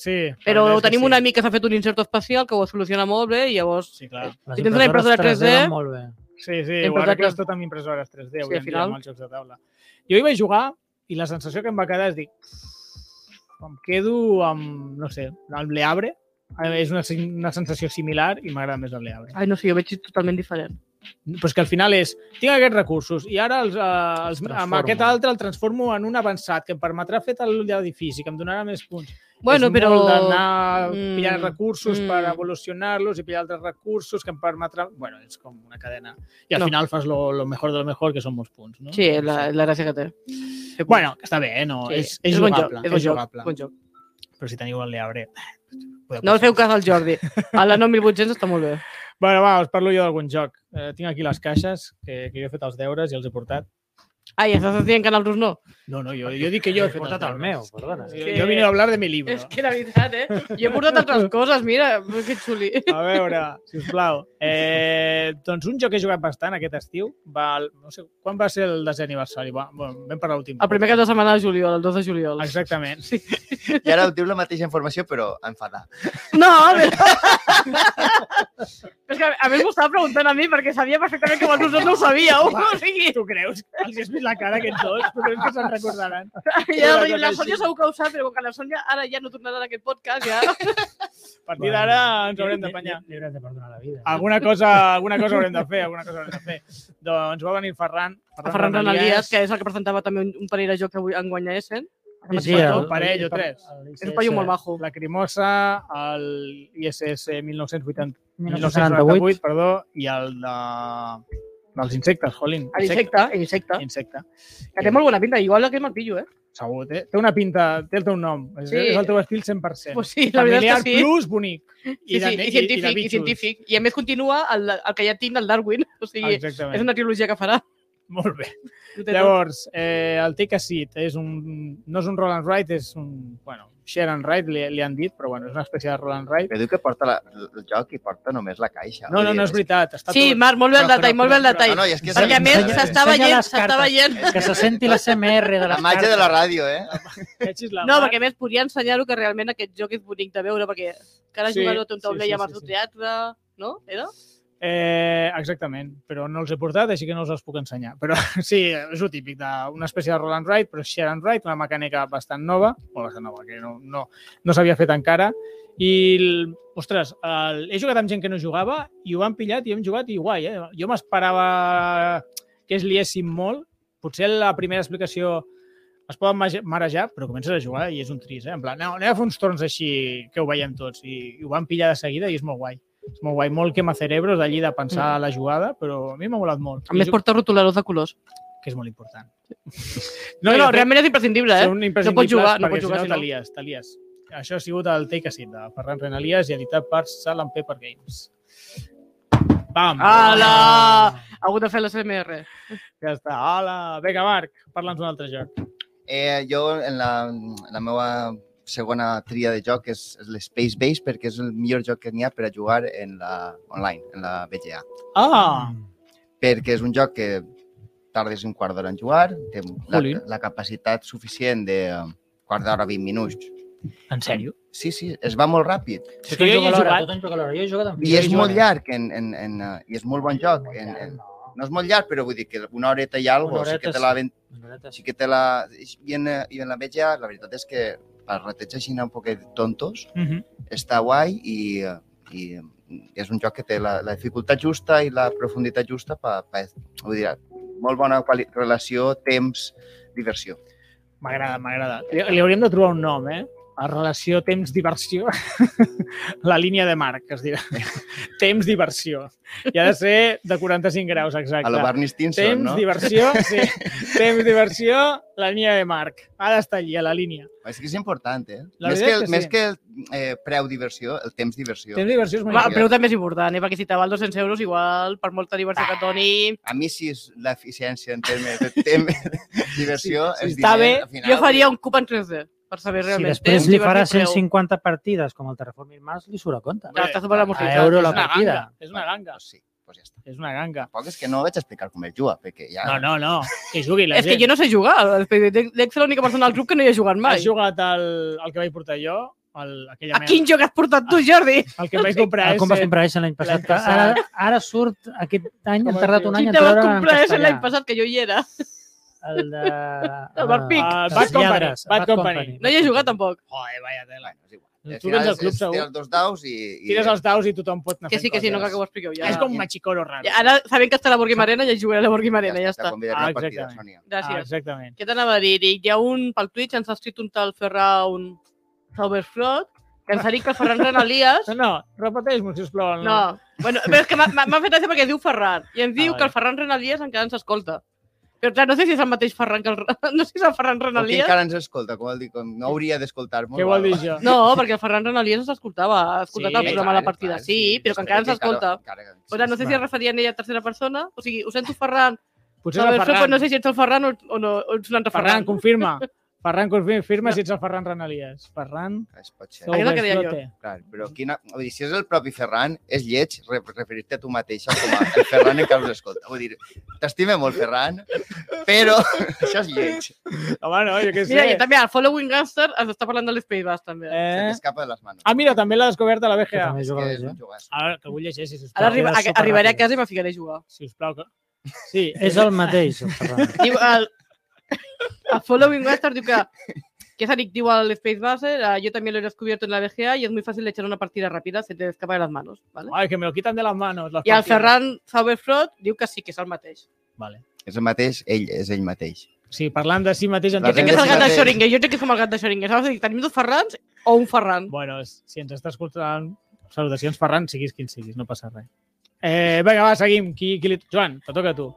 Speaker 1: Sí,
Speaker 2: Però
Speaker 1: la veritat és que
Speaker 2: tenim
Speaker 1: sí.
Speaker 2: un amic que s'ha fet un inserto espacial que ho soluciona molt bé i llavors...
Speaker 1: Sí, clar.
Speaker 4: Eh, Les
Speaker 2: Si tens una
Speaker 4: impressores
Speaker 2: impressora
Speaker 4: 3D
Speaker 2: 3D,
Speaker 4: van molt bé.
Speaker 1: Sí, sí,
Speaker 2: Hem
Speaker 1: ho
Speaker 2: portat
Speaker 1: arregles
Speaker 2: les-
Speaker 1: tot amb impressores 3D, avui
Speaker 2: al
Speaker 1: en dia,
Speaker 2: final.
Speaker 1: amb els jocs de taula. Jo hi vaig jugar i la sensació que em va quedar és dir, em quedo amb, no sé, amb l'Eabre, Eh, és una, sen- una sensació similar i m'agrada més el l'Eabre.
Speaker 2: Ai, no sé, jo veig totalment diferent.
Speaker 1: Però és que al final és, tinc aquests recursos i ara els, eh, els, amb
Speaker 4: Transformo.
Speaker 1: aquest altre el transformo en un avançat que em permetrà fer tal edifici, que em donarà més punts.
Speaker 2: Bueno,
Speaker 1: és
Speaker 2: però...
Speaker 1: molt d'anar
Speaker 2: Mm,
Speaker 1: pillant recursos per
Speaker 2: mm.
Speaker 1: evolucionar-los i pillar altres recursos que em permetran... Bueno, és com una cadena. I al
Speaker 2: No.
Speaker 1: final fas lo, lo mejor de lo mejor, que són molts punts, no?
Speaker 2: Sí, la, la gràcia que té.
Speaker 1: Bueno, que està bé, eh? No,
Speaker 2: Sí,
Speaker 1: és, és, jugable.
Speaker 2: bon joc, és, bon
Speaker 1: jugable.
Speaker 2: joc, bon joc.
Speaker 1: Però si teniu el Leabre... podeu
Speaker 2: No el
Speaker 1: passar.
Speaker 2: feu cas al <laughs> Jordi. A la 9800 està molt bé.
Speaker 1: Bueno, va, us parlo jo d'algun joc. Eh, tinc aquí les caixes, que, que jo he fet els deures i els he portat.
Speaker 2: Ai, estàs dient que en altres no?
Speaker 1: No, no, jo, jo dic que jo he,
Speaker 4: He
Speaker 1: fet
Speaker 4: portat
Speaker 1: els
Speaker 4: el meu,
Speaker 1: deures.
Speaker 4: perdona.
Speaker 1: Jo, jo vine a hablar de mi libro.
Speaker 2: És que la veritat, eh? Jo he portat <laughs> altres coses, mira, pues que xuli.
Speaker 1: A veure, si us plau. Eh, doncs un joc que he jugat bastant aquest estiu, va, al- no sé, quan va ser el desè aniversari? Va, bueno, vam parlar l'últim.
Speaker 2: El primer cap de setmana de juliol, el 2 de juliol.
Speaker 1: Exactament.
Speaker 3: I ara diu la mateixa informació, però enfadat.
Speaker 2: <laughs> No, <laughs> però... Però és que a més m'ho estava preguntant a mi perquè sabia perfectament que vosaltres no ho sabíeu.
Speaker 1: Va.
Speaker 2: O sigui,
Speaker 1: Tu creus? Els has vist la cara aquests dos? Tu creus que se'n recordaran?
Speaker 2: ja, la Sònia segur que ho sap, però com que la Sònia ara ja no tornarà en aquest podcast, ja...
Speaker 1: A partir d'ara ens haurem
Speaker 4: eh,
Speaker 1: d'apanyar.
Speaker 4: Li, li haurem de perdonar la vida.
Speaker 1: Alguna cosa, alguna cosa haurem de fer, alguna cosa haurem de fer. Doncs va venir Ferran.
Speaker 2: A Ferran Renalies, que és el que presentava també un, un parell de joc que avui enguanya Essen.
Speaker 1: Sí, sí, el, parell o tres.
Speaker 2: És un paio molt majo.
Speaker 1: La Crimosa, el ISS 1980, 1998,
Speaker 4: 1998.
Speaker 1: perdó, i el de, dels insectes, Jolín.
Speaker 2: L'insecte, l'insecte.
Speaker 1: Insecte.
Speaker 2: Que té molt bona pinta. Igual que me'l pillo, eh?
Speaker 1: Segur, té, té una pinta, té el teu nom. És,
Speaker 2: Sí.
Speaker 1: és el teu estil 100%.
Speaker 2: Pues sí, la
Speaker 1: Familiar
Speaker 2: veritat és que sí.
Speaker 1: plus bonic.
Speaker 2: Sí, sí, i, científic, i,
Speaker 1: bitxos.
Speaker 2: científic. I a més continua el, el que ja tinc, el Darwin. O sigui,
Speaker 1: Ah, Exactament.
Speaker 2: és una trilogia que farà.
Speaker 1: Molt bé.
Speaker 2: Ho té tot.
Speaker 1: Llavors, eh, el Take a Seat és un, no és un Roland Wright, és un... Bueno, Sharon Wright li, li han dit, però bueno, és una espècie de Roland Wright.
Speaker 3: Que diu que porta la, el joc i porta només la caixa.
Speaker 1: No,
Speaker 3: Vull
Speaker 1: no,
Speaker 3: dir,
Speaker 1: no és veritat. Està
Speaker 2: Sí,
Speaker 1: tot...
Speaker 2: Marc, molt bé el
Speaker 1: Però-
Speaker 2: detall,
Speaker 1: però-
Speaker 2: molt bé el
Speaker 1: però-
Speaker 2: detall.
Speaker 3: No, no, i és que és
Speaker 2: Perquè a
Speaker 3: el-
Speaker 2: més
Speaker 4: Ensenya-
Speaker 2: s'està
Speaker 4: ensenya
Speaker 2: veient,
Speaker 4: les
Speaker 2: s'està
Speaker 4: cartes.
Speaker 2: veient.
Speaker 4: Que se senti la CMR de
Speaker 3: la
Speaker 4: les
Speaker 3: màgia de la ràdio, eh?
Speaker 1: Llegis la
Speaker 2: No,
Speaker 1: Mar.
Speaker 2: perquè a més podria ensenyar-ho que realment aquest joc és bonic de veure, perquè cada
Speaker 1: Sí,
Speaker 2: jugador té un
Speaker 1: sí,
Speaker 2: taulell
Speaker 1: sí,
Speaker 2: amb
Speaker 1: sí,
Speaker 2: el seu
Speaker 1: sí.
Speaker 2: teatre, no? Era?
Speaker 1: Eh, exactament, però no els he portat, així que no us els puc ensenyar. Però <laughs> sí, és el típic d'una espècie de Roland Wright, però Sharon Wright, una mecànica bastant nova, o bastant nova, que no, no, no s'havia fet encara. I, el- ostres, el, he jugat amb gent que no jugava i ho han pillat i hem jugat i guai, eh? Jo m'esperava que es liessin molt. Potser la primera explicació es poden mage- marejar, però comences a jugar i és un tris, eh? En plan, no, anem a fer uns torns així que ho veiem tots i, i ho van pillar de seguida i és molt guai. És molt guai, molt quema cerebros d'allí de pensar mm. la jugada, però a mi m'ha molat molt.
Speaker 2: A més
Speaker 1: I jo-
Speaker 2: porta rotuladors de colors.
Speaker 1: Que és molt important.
Speaker 2: No,
Speaker 1: i
Speaker 2: no,
Speaker 1: de fet,
Speaker 2: realment és imprescindible, eh?
Speaker 1: Són imprescindibles
Speaker 2: jugar, no
Speaker 1: perquè
Speaker 2: pots jugar,
Speaker 1: si no.
Speaker 2: si no.
Speaker 1: te lies, te lies. Això ha sigut el Take a Seat de Ferran Renalies i editat per Salem Paper Games. Pam!
Speaker 2: Ala! Ha hagut de fer la CMR.
Speaker 1: Ja està. Hola! Vinga, Marc, parla'ns d'un altre joc.
Speaker 3: Eh, jo, en la, la meva segona tria de joc és, és l'Space Base perquè és el millor joc que n'hi ha per a jugar en la online, en la BGA.
Speaker 1: Ah!
Speaker 3: Perquè és un joc que tardes un quart d'hora en jugar, té la,
Speaker 1: Jolín.
Speaker 3: la capacitat suficient de eh, quart d'hora, 20 minuts.
Speaker 1: En sèrio?
Speaker 3: Sí, sí, es va molt ràpid.
Speaker 1: És que jo hi he jugat.
Speaker 4: Jo he jugat amb
Speaker 3: I és molt llarg en, en, en, eh, i és molt bon joc. En, en,
Speaker 4: No.
Speaker 3: no és molt llarg, però vull dir que una horeta i alguna
Speaker 4: Una
Speaker 3: cosa, sí
Speaker 4: horeta
Speaker 3: que te la,
Speaker 4: sí.
Speaker 3: ven- sí que te la... I en, eh, i en la BGA, la veritat és que per rateig així un poquet tontos,
Speaker 1: Mm -hmm.
Speaker 3: està guai i, i és un joc que té la, la dificultat justa i la profunditat justa per, per vull dir, molt bona quali- relació, temps, diversió.
Speaker 1: M'agrada, m'agrada. Li, li hauríem de trobar un nom, eh? A relació temps-diversió. <laughs> la línia de Marc, es
Speaker 4: <laughs>
Speaker 1: dirà. temps-diversió. I ha de ser de 45 graus, exacte.
Speaker 3: A lo Barney Stinson,
Speaker 1: Temps,
Speaker 3: no?
Speaker 1: diversió, sí.
Speaker 4: <laughs>
Speaker 1: Temps, diversió, la línia de Marc. Ha d'estar allí, a la línia.
Speaker 3: És que és important, eh?
Speaker 1: La
Speaker 3: més
Speaker 1: veritat
Speaker 3: que, el,
Speaker 1: que sí.
Speaker 3: més que el eh, preu diversió, el temps diversió.
Speaker 1: Temps, diversió és molt
Speaker 2: Va,
Speaker 3: Va,
Speaker 2: el preu també és important, eh? Perquè si te val 200 euros, igual, per molta diversió que et doni...
Speaker 3: A mi sí és l'eficiència en termes de temps, <laughs> diversió,
Speaker 1: Sí, sí,
Speaker 3: és
Speaker 1: està bé.
Speaker 3: diner, al final.
Speaker 2: Jo faria un cup en 3D, per saber
Speaker 4: Si
Speaker 2: realment.
Speaker 4: després
Speaker 2: temps,
Speaker 4: li
Speaker 2: diversió
Speaker 4: farà
Speaker 2: i preu.
Speaker 4: 150 partides com el Terraforming Mars, li surt a compte.
Speaker 2: Ja, està superamortitzat.
Speaker 4: A euro la
Speaker 1: És una
Speaker 4: partida.
Speaker 1: ganga, és una ganga.
Speaker 3: Doncs sí, doncs ja està.
Speaker 1: És una ganga.
Speaker 3: Tampoc és que no vaig explicar com es juga, perquè ja...
Speaker 1: No, no, no. Que jugui la
Speaker 2: És que
Speaker 1: gent.
Speaker 2: jo no sé jugar. Dec ser l'única persona del grup que no hi ha jugat mai.
Speaker 1: Has jugat al, al que vaig portar jo? Al, aquella
Speaker 2: A quin joc has portat tu, Jordi?
Speaker 1: El que vaig comprar
Speaker 4: Ah,
Speaker 1: és...
Speaker 4: com vas comprar Essen l'any passat?
Speaker 1: l'any
Speaker 4: Que
Speaker 1: passat.
Speaker 4: ara, ara surt aquest any,
Speaker 1: Com
Speaker 4: han
Speaker 1: es
Speaker 4: tardat
Speaker 1: diu?
Speaker 4: un
Speaker 2: Si
Speaker 4: any en
Speaker 2: te vas
Speaker 4: treure en
Speaker 2: comprar ese
Speaker 4: castellà.
Speaker 2: l'any passat, que jo hi era.
Speaker 4: El de...
Speaker 2: <laughs> El Bad Pig.
Speaker 4: Ah,
Speaker 1: El
Speaker 4: dels
Speaker 1: Bad Company,
Speaker 4: lladres,
Speaker 1: Bad Company.
Speaker 2: No hi he jugat, tampoc.
Speaker 1: Joder, vaya tela.
Speaker 3: Bueno, és igual.
Speaker 1: Tu vens al club,
Speaker 3: és-
Speaker 1: segur.
Speaker 3: Tires dos daus i... i
Speaker 1: Tires els daus i tothom pot anar
Speaker 2: Que sí,
Speaker 1: fent
Speaker 2: que sí, no
Speaker 1: coses.
Speaker 2: cal que ho expliqueu ja.
Speaker 1: És com un machicoro raro.
Speaker 2: Ja, Ara, sabent que està a la Borgui Marena, ja jugaré a la Borgui Marena, ja
Speaker 3: Te
Speaker 2: està.
Speaker 3: convidaré
Speaker 1: Ah,
Speaker 3: a una partida,
Speaker 1: exactament.
Speaker 3: Sònia.
Speaker 1: Ah,
Speaker 2: Gràcies.
Speaker 1: exactament.
Speaker 2: Què t'anava a dir? Eric? Hi ha un, pel Twitch, ens ha escrit un tal Ferran Sauberflot, que ens ha dit que el Ferran Renalies...
Speaker 1: <laughs> No, no, repeteix-m'ho, sisplau.
Speaker 2: No, bueno, però és que m'ha- m'ha m'ha fet gràcia perquè diu Ferran, i ens diu
Speaker 1: vale.
Speaker 2: que el Ferran Renalies encara ens escolta. Però clar, no sé si és el mateix Ferran que el... <laughs> No sé si és el Ferran
Speaker 3: Però qui
Speaker 2: Renalies
Speaker 3: encara ens escolta? Com vol dir? Com no hauria d'escoltar-nos?
Speaker 1: Què vol dir això?
Speaker 2: No, perquè el Ferran Renalies ens escoltava, ha escoltat
Speaker 1: Sí,
Speaker 2: el programa
Speaker 3: clar,
Speaker 2: la partida,
Speaker 3: clar,
Speaker 2: sí,
Speaker 3: sí,
Speaker 2: però que encara ens escolta. O sigui, no sé si es referia a ella a tercera persona, o sigui, ho sento Ferran,
Speaker 1: Potser
Speaker 2: no,
Speaker 1: és el
Speaker 2: Ferran.
Speaker 1: Ferran.
Speaker 2: però no sé si ets el Ferran o, o no, o ets un altre
Speaker 1: Ferran,
Speaker 2: Ferran. <laughs>
Speaker 1: confirma. Ferran, confirma si ets el Ferran Renalies. Ferran...
Speaker 3: Es pot ser,
Speaker 2: No. és el que deia jo.
Speaker 1: Soberflote.
Speaker 3: clar. Però quina... Vull dir, si és el propi Ferran, és lleig re- referir-te a tu mateixa com a el Ferran encara us escolta. Vull dir, t'estime molt, Ferran, però <laughs> això és lleig.
Speaker 1: Home, no, jo què sé.
Speaker 2: Mira, i també el Following Gangster ens està parlant de l'Space Bass, també. Eh.
Speaker 3: Se
Speaker 1: eh?
Speaker 3: t'escapa de les mans.
Speaker 1: Ah, mira, també l'ha descobert de la
Speaker 4: Que
Speaker 1: BGA.
Speaker 4: també
Speaker 3: És
Speaker 4: jugava
Speaker 3: que és
Speaker 4: jo.
Speaker 3: un jugaç.
Speaker 1: Ara, que vull llegeixi, sisplau.
Speaker 2: Ara arriba,
Speaker 4: Queda
Speaker 2: a, arribaré a
Speaker 4: superràpid.
Speaker 2: casa i me ficaré a jugar.
Speaker 1: Sisplau, que... Sí,
Speaker 4: És el mateix, el Ferran. <laughs>
Speaker 2: Diu, el, el Following Gangster diu que que Sarik diu al Space eh, Baser, yo también lo he descubierto en la BGA y es muy fácil de echar una partida rápida, se te escapa de las manos. ¿vale?
Speaker 1: Ai, que me lo quitan de las manos. Las
Speaker 2: I el
Speaker 1: partides.
Speaker 2: Ferran Sauberfrot diu que sí, que és el mateix.
Speaker 1: Vale.
Speaker 3: És el mateix, ell és ell mateix.
Speaker 1: sigui, parlant de si mateix... en
Speaker 3: La
Speaker 2: Jo crec
Speaker 1: tot
Speaker 2: que és el
Speaker 1: cas-
Speaker 2: gat de
Speaker 3: Sí.
Speaker 2: Schrödinger, jo crec que és com el gat de Schrödinger. Saps? Dic, Tenim dos Ferrans o un Ferran.
Speaker 1: Bueno, si ens està escoltant, salutacions, Ferran, siguis quin siguis, no passa res. Eh, vinga, va, seguim. Qui, qui li... Joan, te toca a tu.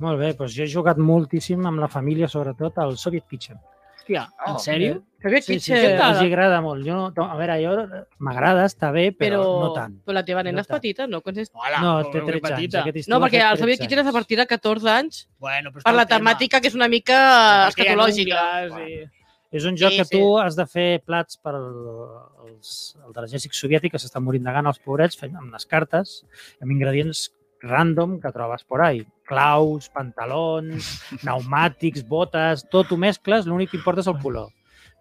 Speaker 4: Molt bé, doncs jo he jugat moltíssim amb la família, sobretot, al Soviet Kitchen.
Speaker 1: Hòstia,
Speaker 3: Oh,
Speaker 1: en sèrio?
Speaker 2: Xavier
Speaker 4: Sí, sí, sí,
Speaker 2: Kitchen.
Speaker 4: els agrada molt. Jo, no- a veure, jo m'agrada, està bé, però, però no tant.
Speaker 2: Però la teva nena
Speaker 4: No
Speaker 2: és
Speaker 4: tant.
Speaker 2: petita, no? Quan és...
Speaker 1: Hola,
Speaker 4: no,
Speaker 1: però
Speaker 4: té
Speaker 1: molt
Speaker 4: 13 anys.
Speaker 1: petita.
Speaker 4: Aquest estiu
Speaker 2: No,
Speaker 4: ha
Speaker 2: perquè
Speaker 4: fet
Speaker 2: el Xavier
Speaker 4: 13
Speaker 2: Kitchen és a
Speaker 4: anys.
Speaker 2: partir de 14 anys
Speaker 1: Bueno, però
Speaker 2: per la temàtica que és una mica escatològica.
Speaker 1: I...
Speaker 4: És un joc
Speaker 2: Sí,
Speaker 4: sí, que
Speaker 2: sí.
Speaker 4: tu has de fer plats per als, el de l'exèrcit soviètic que s'estan morint de gana els pobrets, fent amb unes cartes, amb ingredients random que trobes por ahí. Claus, pantalons, pneumàtics, botes, tot ho mescles, l'únic que importa és el color.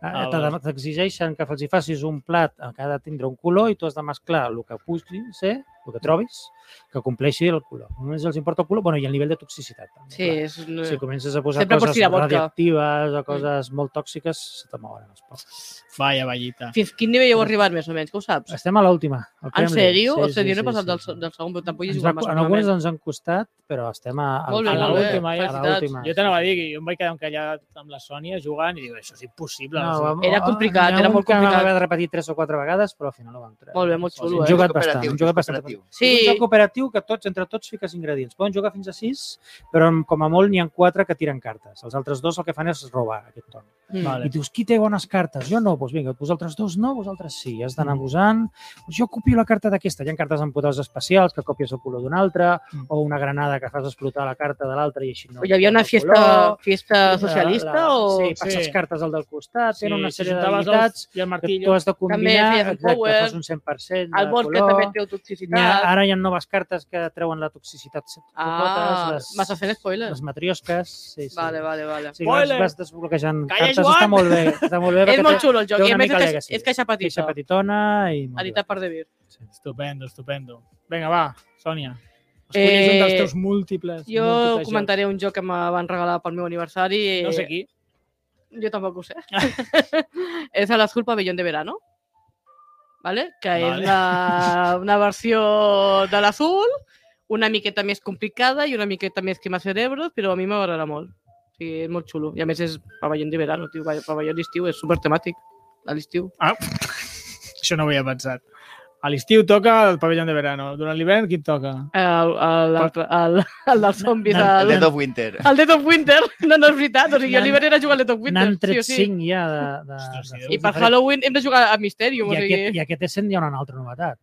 Speaker 1: Ah,
Speaker 4: Ah,
Speaker 1: val.
Speaker 4: T'ha de- T'exigeixen que els hi facis un plat que ha de tindre un color i tu has de mesclar el que pugui ser, el que trobis, que compleixi el color. Només els importa el color bueno, i el nivell de toxicitat. També,
Speaker 2: Sí,
Speaker 4: clar.
Speaker 2: és... una-
Speaker 4: Si comences a posar
Speaker 2: Sempre
Speaker 4: Sempre
Speaker 2: pots
Speaker 4: coses
Speaker 2: tirar vodka. Mm.
Speaker 4: radioactives o coses molt tòxiques, se te mouen els pocs.
Speaker 1: Vaya, vallita.
Speaker 2: Fins quin nivell heu arribat, més o menys, que ho saps?
Speaker 4: Estem a l'última. al
Speaker 2: En
Speaker 4: Kremlin.
Speaker 2: sèrio?
Speaker 4: Mm. Sí,
Speaker 2: o sigui,
Speaker 4: sí,
Speaker 2: jo no he
Speaker 4: sí,
Speaker 2: passat
Speaker 4: sí,
Speaker 2: del,
Speaker 4: sí.
Speaker 2: del segon, però tampoc hi he
Speaker 4: Ens
Speaker 2: jugat
Speaker 4: va,
Speaker 2: massa.
Speaker 4: en algunes ens han costat, però estem a, a,
Speaker 2: Molt bé,
Speaker 4: a
Speaker 1: molt bé.
Speaker 4: l'última. ja, A
Speaker 2: Felicitats.
Speaker 4: l'última.
Speaker 1: Jo t'anava a dir que jo em vaig quedar encallat amb la Sònia jugant i dic, això és impossible. No,
Speaker 4: vam- oh,
Speaker 2: Era complicat,
Speaker 4: n'hi ha
Speaker 2: era
Speaker 4: un
Speaker 2: molt
Speaker 4: que vam
Speaker 2: complicat.
Speaker 4: haver de repetir tres o quatre vegades, però al final no vam treure.
Speaker 2: Molt bé, molt xulo,
Speaker 4: hem
Speaker 2: eh?
Speaker 4: jugat bastant,
Speaker 3: Cooperatiu,
Speaker 4: hem
Speaker 3: és
Speaker 4: jugat bastant.
Speaker 3: cooperatiu.
Speaker 2: Sí,
Speaker 4: És un joc cooperatiu que tots, entre tots, fiques ingredients. Poden jugar fins a sis, però com a molt n'hi ha quatre que tiren cartes. Els altres dos el que fan és robar aquest torn.
Speaker 2: Mm.
Speaker 1: Vale.
Speaker 4: I dius, qui té bones cartes? Jo no, doncs vinga, vosaltres dos no, vosaltres sí. Has d'anar
Speaker 1: Mm.
Speaker 4: abusant. Doncs jo copio la carta d'aquesta. Hi ha cartes amb poders especials que copies el color d'una altra
Speaker 1: Mm.
Speaker 4: o una granada que fas explotar la carta de l'altra i així no.
Speaker 2: O hi havia una fiesta, fiesta socialista o...
Speaker 4: Sí, passes
Speaker 1: Sí.
Speaker 4: cartes al del costat, sí, tenen una sèrie de
Speaker 1: juntaves
Speaker 4: habilitats
Speaker 1: els- I el
Speaker 4: que
Speaker 1: martillo.
Speaker 4: tu has de combinar,
Speaker 2: feies un
Speaker 4: exacte,
Speaker 2: power.
Speaker 4: fas un 100%
Speaker 2: el
Speaker 4: de
Speaker 2: bot que
Speaker 4: color. ah,
Speaker 2: també té
Speaker 4: Hi ha,
Speaker 2: toxicitat.
Speaker 4: ara hi ha noves cartes que treuen la toxicitat.
Speaker 2: Ah,
Speaker 4: totes
Speaker 2: m'has de fer spoilers.
Speaker 4: Les matriosques. Sí, sí.
Speaker 2: Vale, vale, vale.
Speaker 4: Sí, vas,
Speaker 1: Spoiler!
Speaker 4: vas desbloquejant
Speaker 1: Calla,
Speaker 4: cartes.
Speaker 1: Joan!
Speaker 4: Està molt bé. Està molt
Speaker 2: <laughs>
Speaker 4: bé.
Speaker 2: és
Speaker 4: perquè
Speaker 2: molt
Speaker 4: té
Speaker 2: xulo el joc. I a
Speaker 4: té una
Speaker 2: més
Speaker 4: mica
Speaker 2: és,
Speaker 4: legacy.
Speaker 2: és caixa
Speaker 4: Queixa
Speaker 2: petita.
Speaker 4: petitona i... molt bé.
Speaker 2: Editat per David.
Speaker 1: Estupendo, estupendo. Vinga, va, Sònia. Escollis eh... un dels
Speaker 2: Eh,
Speaker 1: teus múltiples.
Speaker 2: Jo
Speaker 1: múltiples
Speaker 2: comentaré un joc que me van regalar pel meu aniversari.
Speaker 1: jocs.
Speaker 2: eh,
Speaker 1: No sé qui.
Speaker 2: Jo tampoc ho
Speaker 4: <laughs>
Speaker 2: sé. és a l'Azul Pavellón de Verano. Vale? Que vale.
Speaker 1: Vale.
Speaker 2: és una, una versió de l'Azul, una miqueta més complicada i una miqueta més quema cerebros, però a mi m'agrada molt. O sigui, és molt xulo. I a més és pavellón de verano, tio. Pavellón d'estiu, és super temàtic. A l'estiu.
Speaker 1: Ah, això no ho havia pensat. A l'estiu toca el pavelló de verano. Durant l'hivern, qui et toca?
Speaker 2: El, el, el, el, el dels zombis.
Speaker 4: No,
Speaker 3: El
Speaker 2: el,
Speaker 3: Dead of Winter.
Speaker 2: El Dead of Winter, no, no és veritat. O sigui, jo
Speaker 4: N'han-
Speaker 2: l'hivern era jugar al Dead of Winter.
Speaker 4: N'han
Speaker 2: sí
Speaker 4: tret
Speaker 2: o sí.
Speaker 4: 5 ja de... de,
Speaker 1: Ostres, sí,
Speaker 4: de
Speaker 1: Déu.
Speaker 2: I per
Speaker 4: diferents.
Speaker 2: Halloween hem de jugar a Mysterium.
Speaker 4: I
Speaker 2: O sigui...
Speaker 4: aquest, I aquest escent hi ha una altra novetat.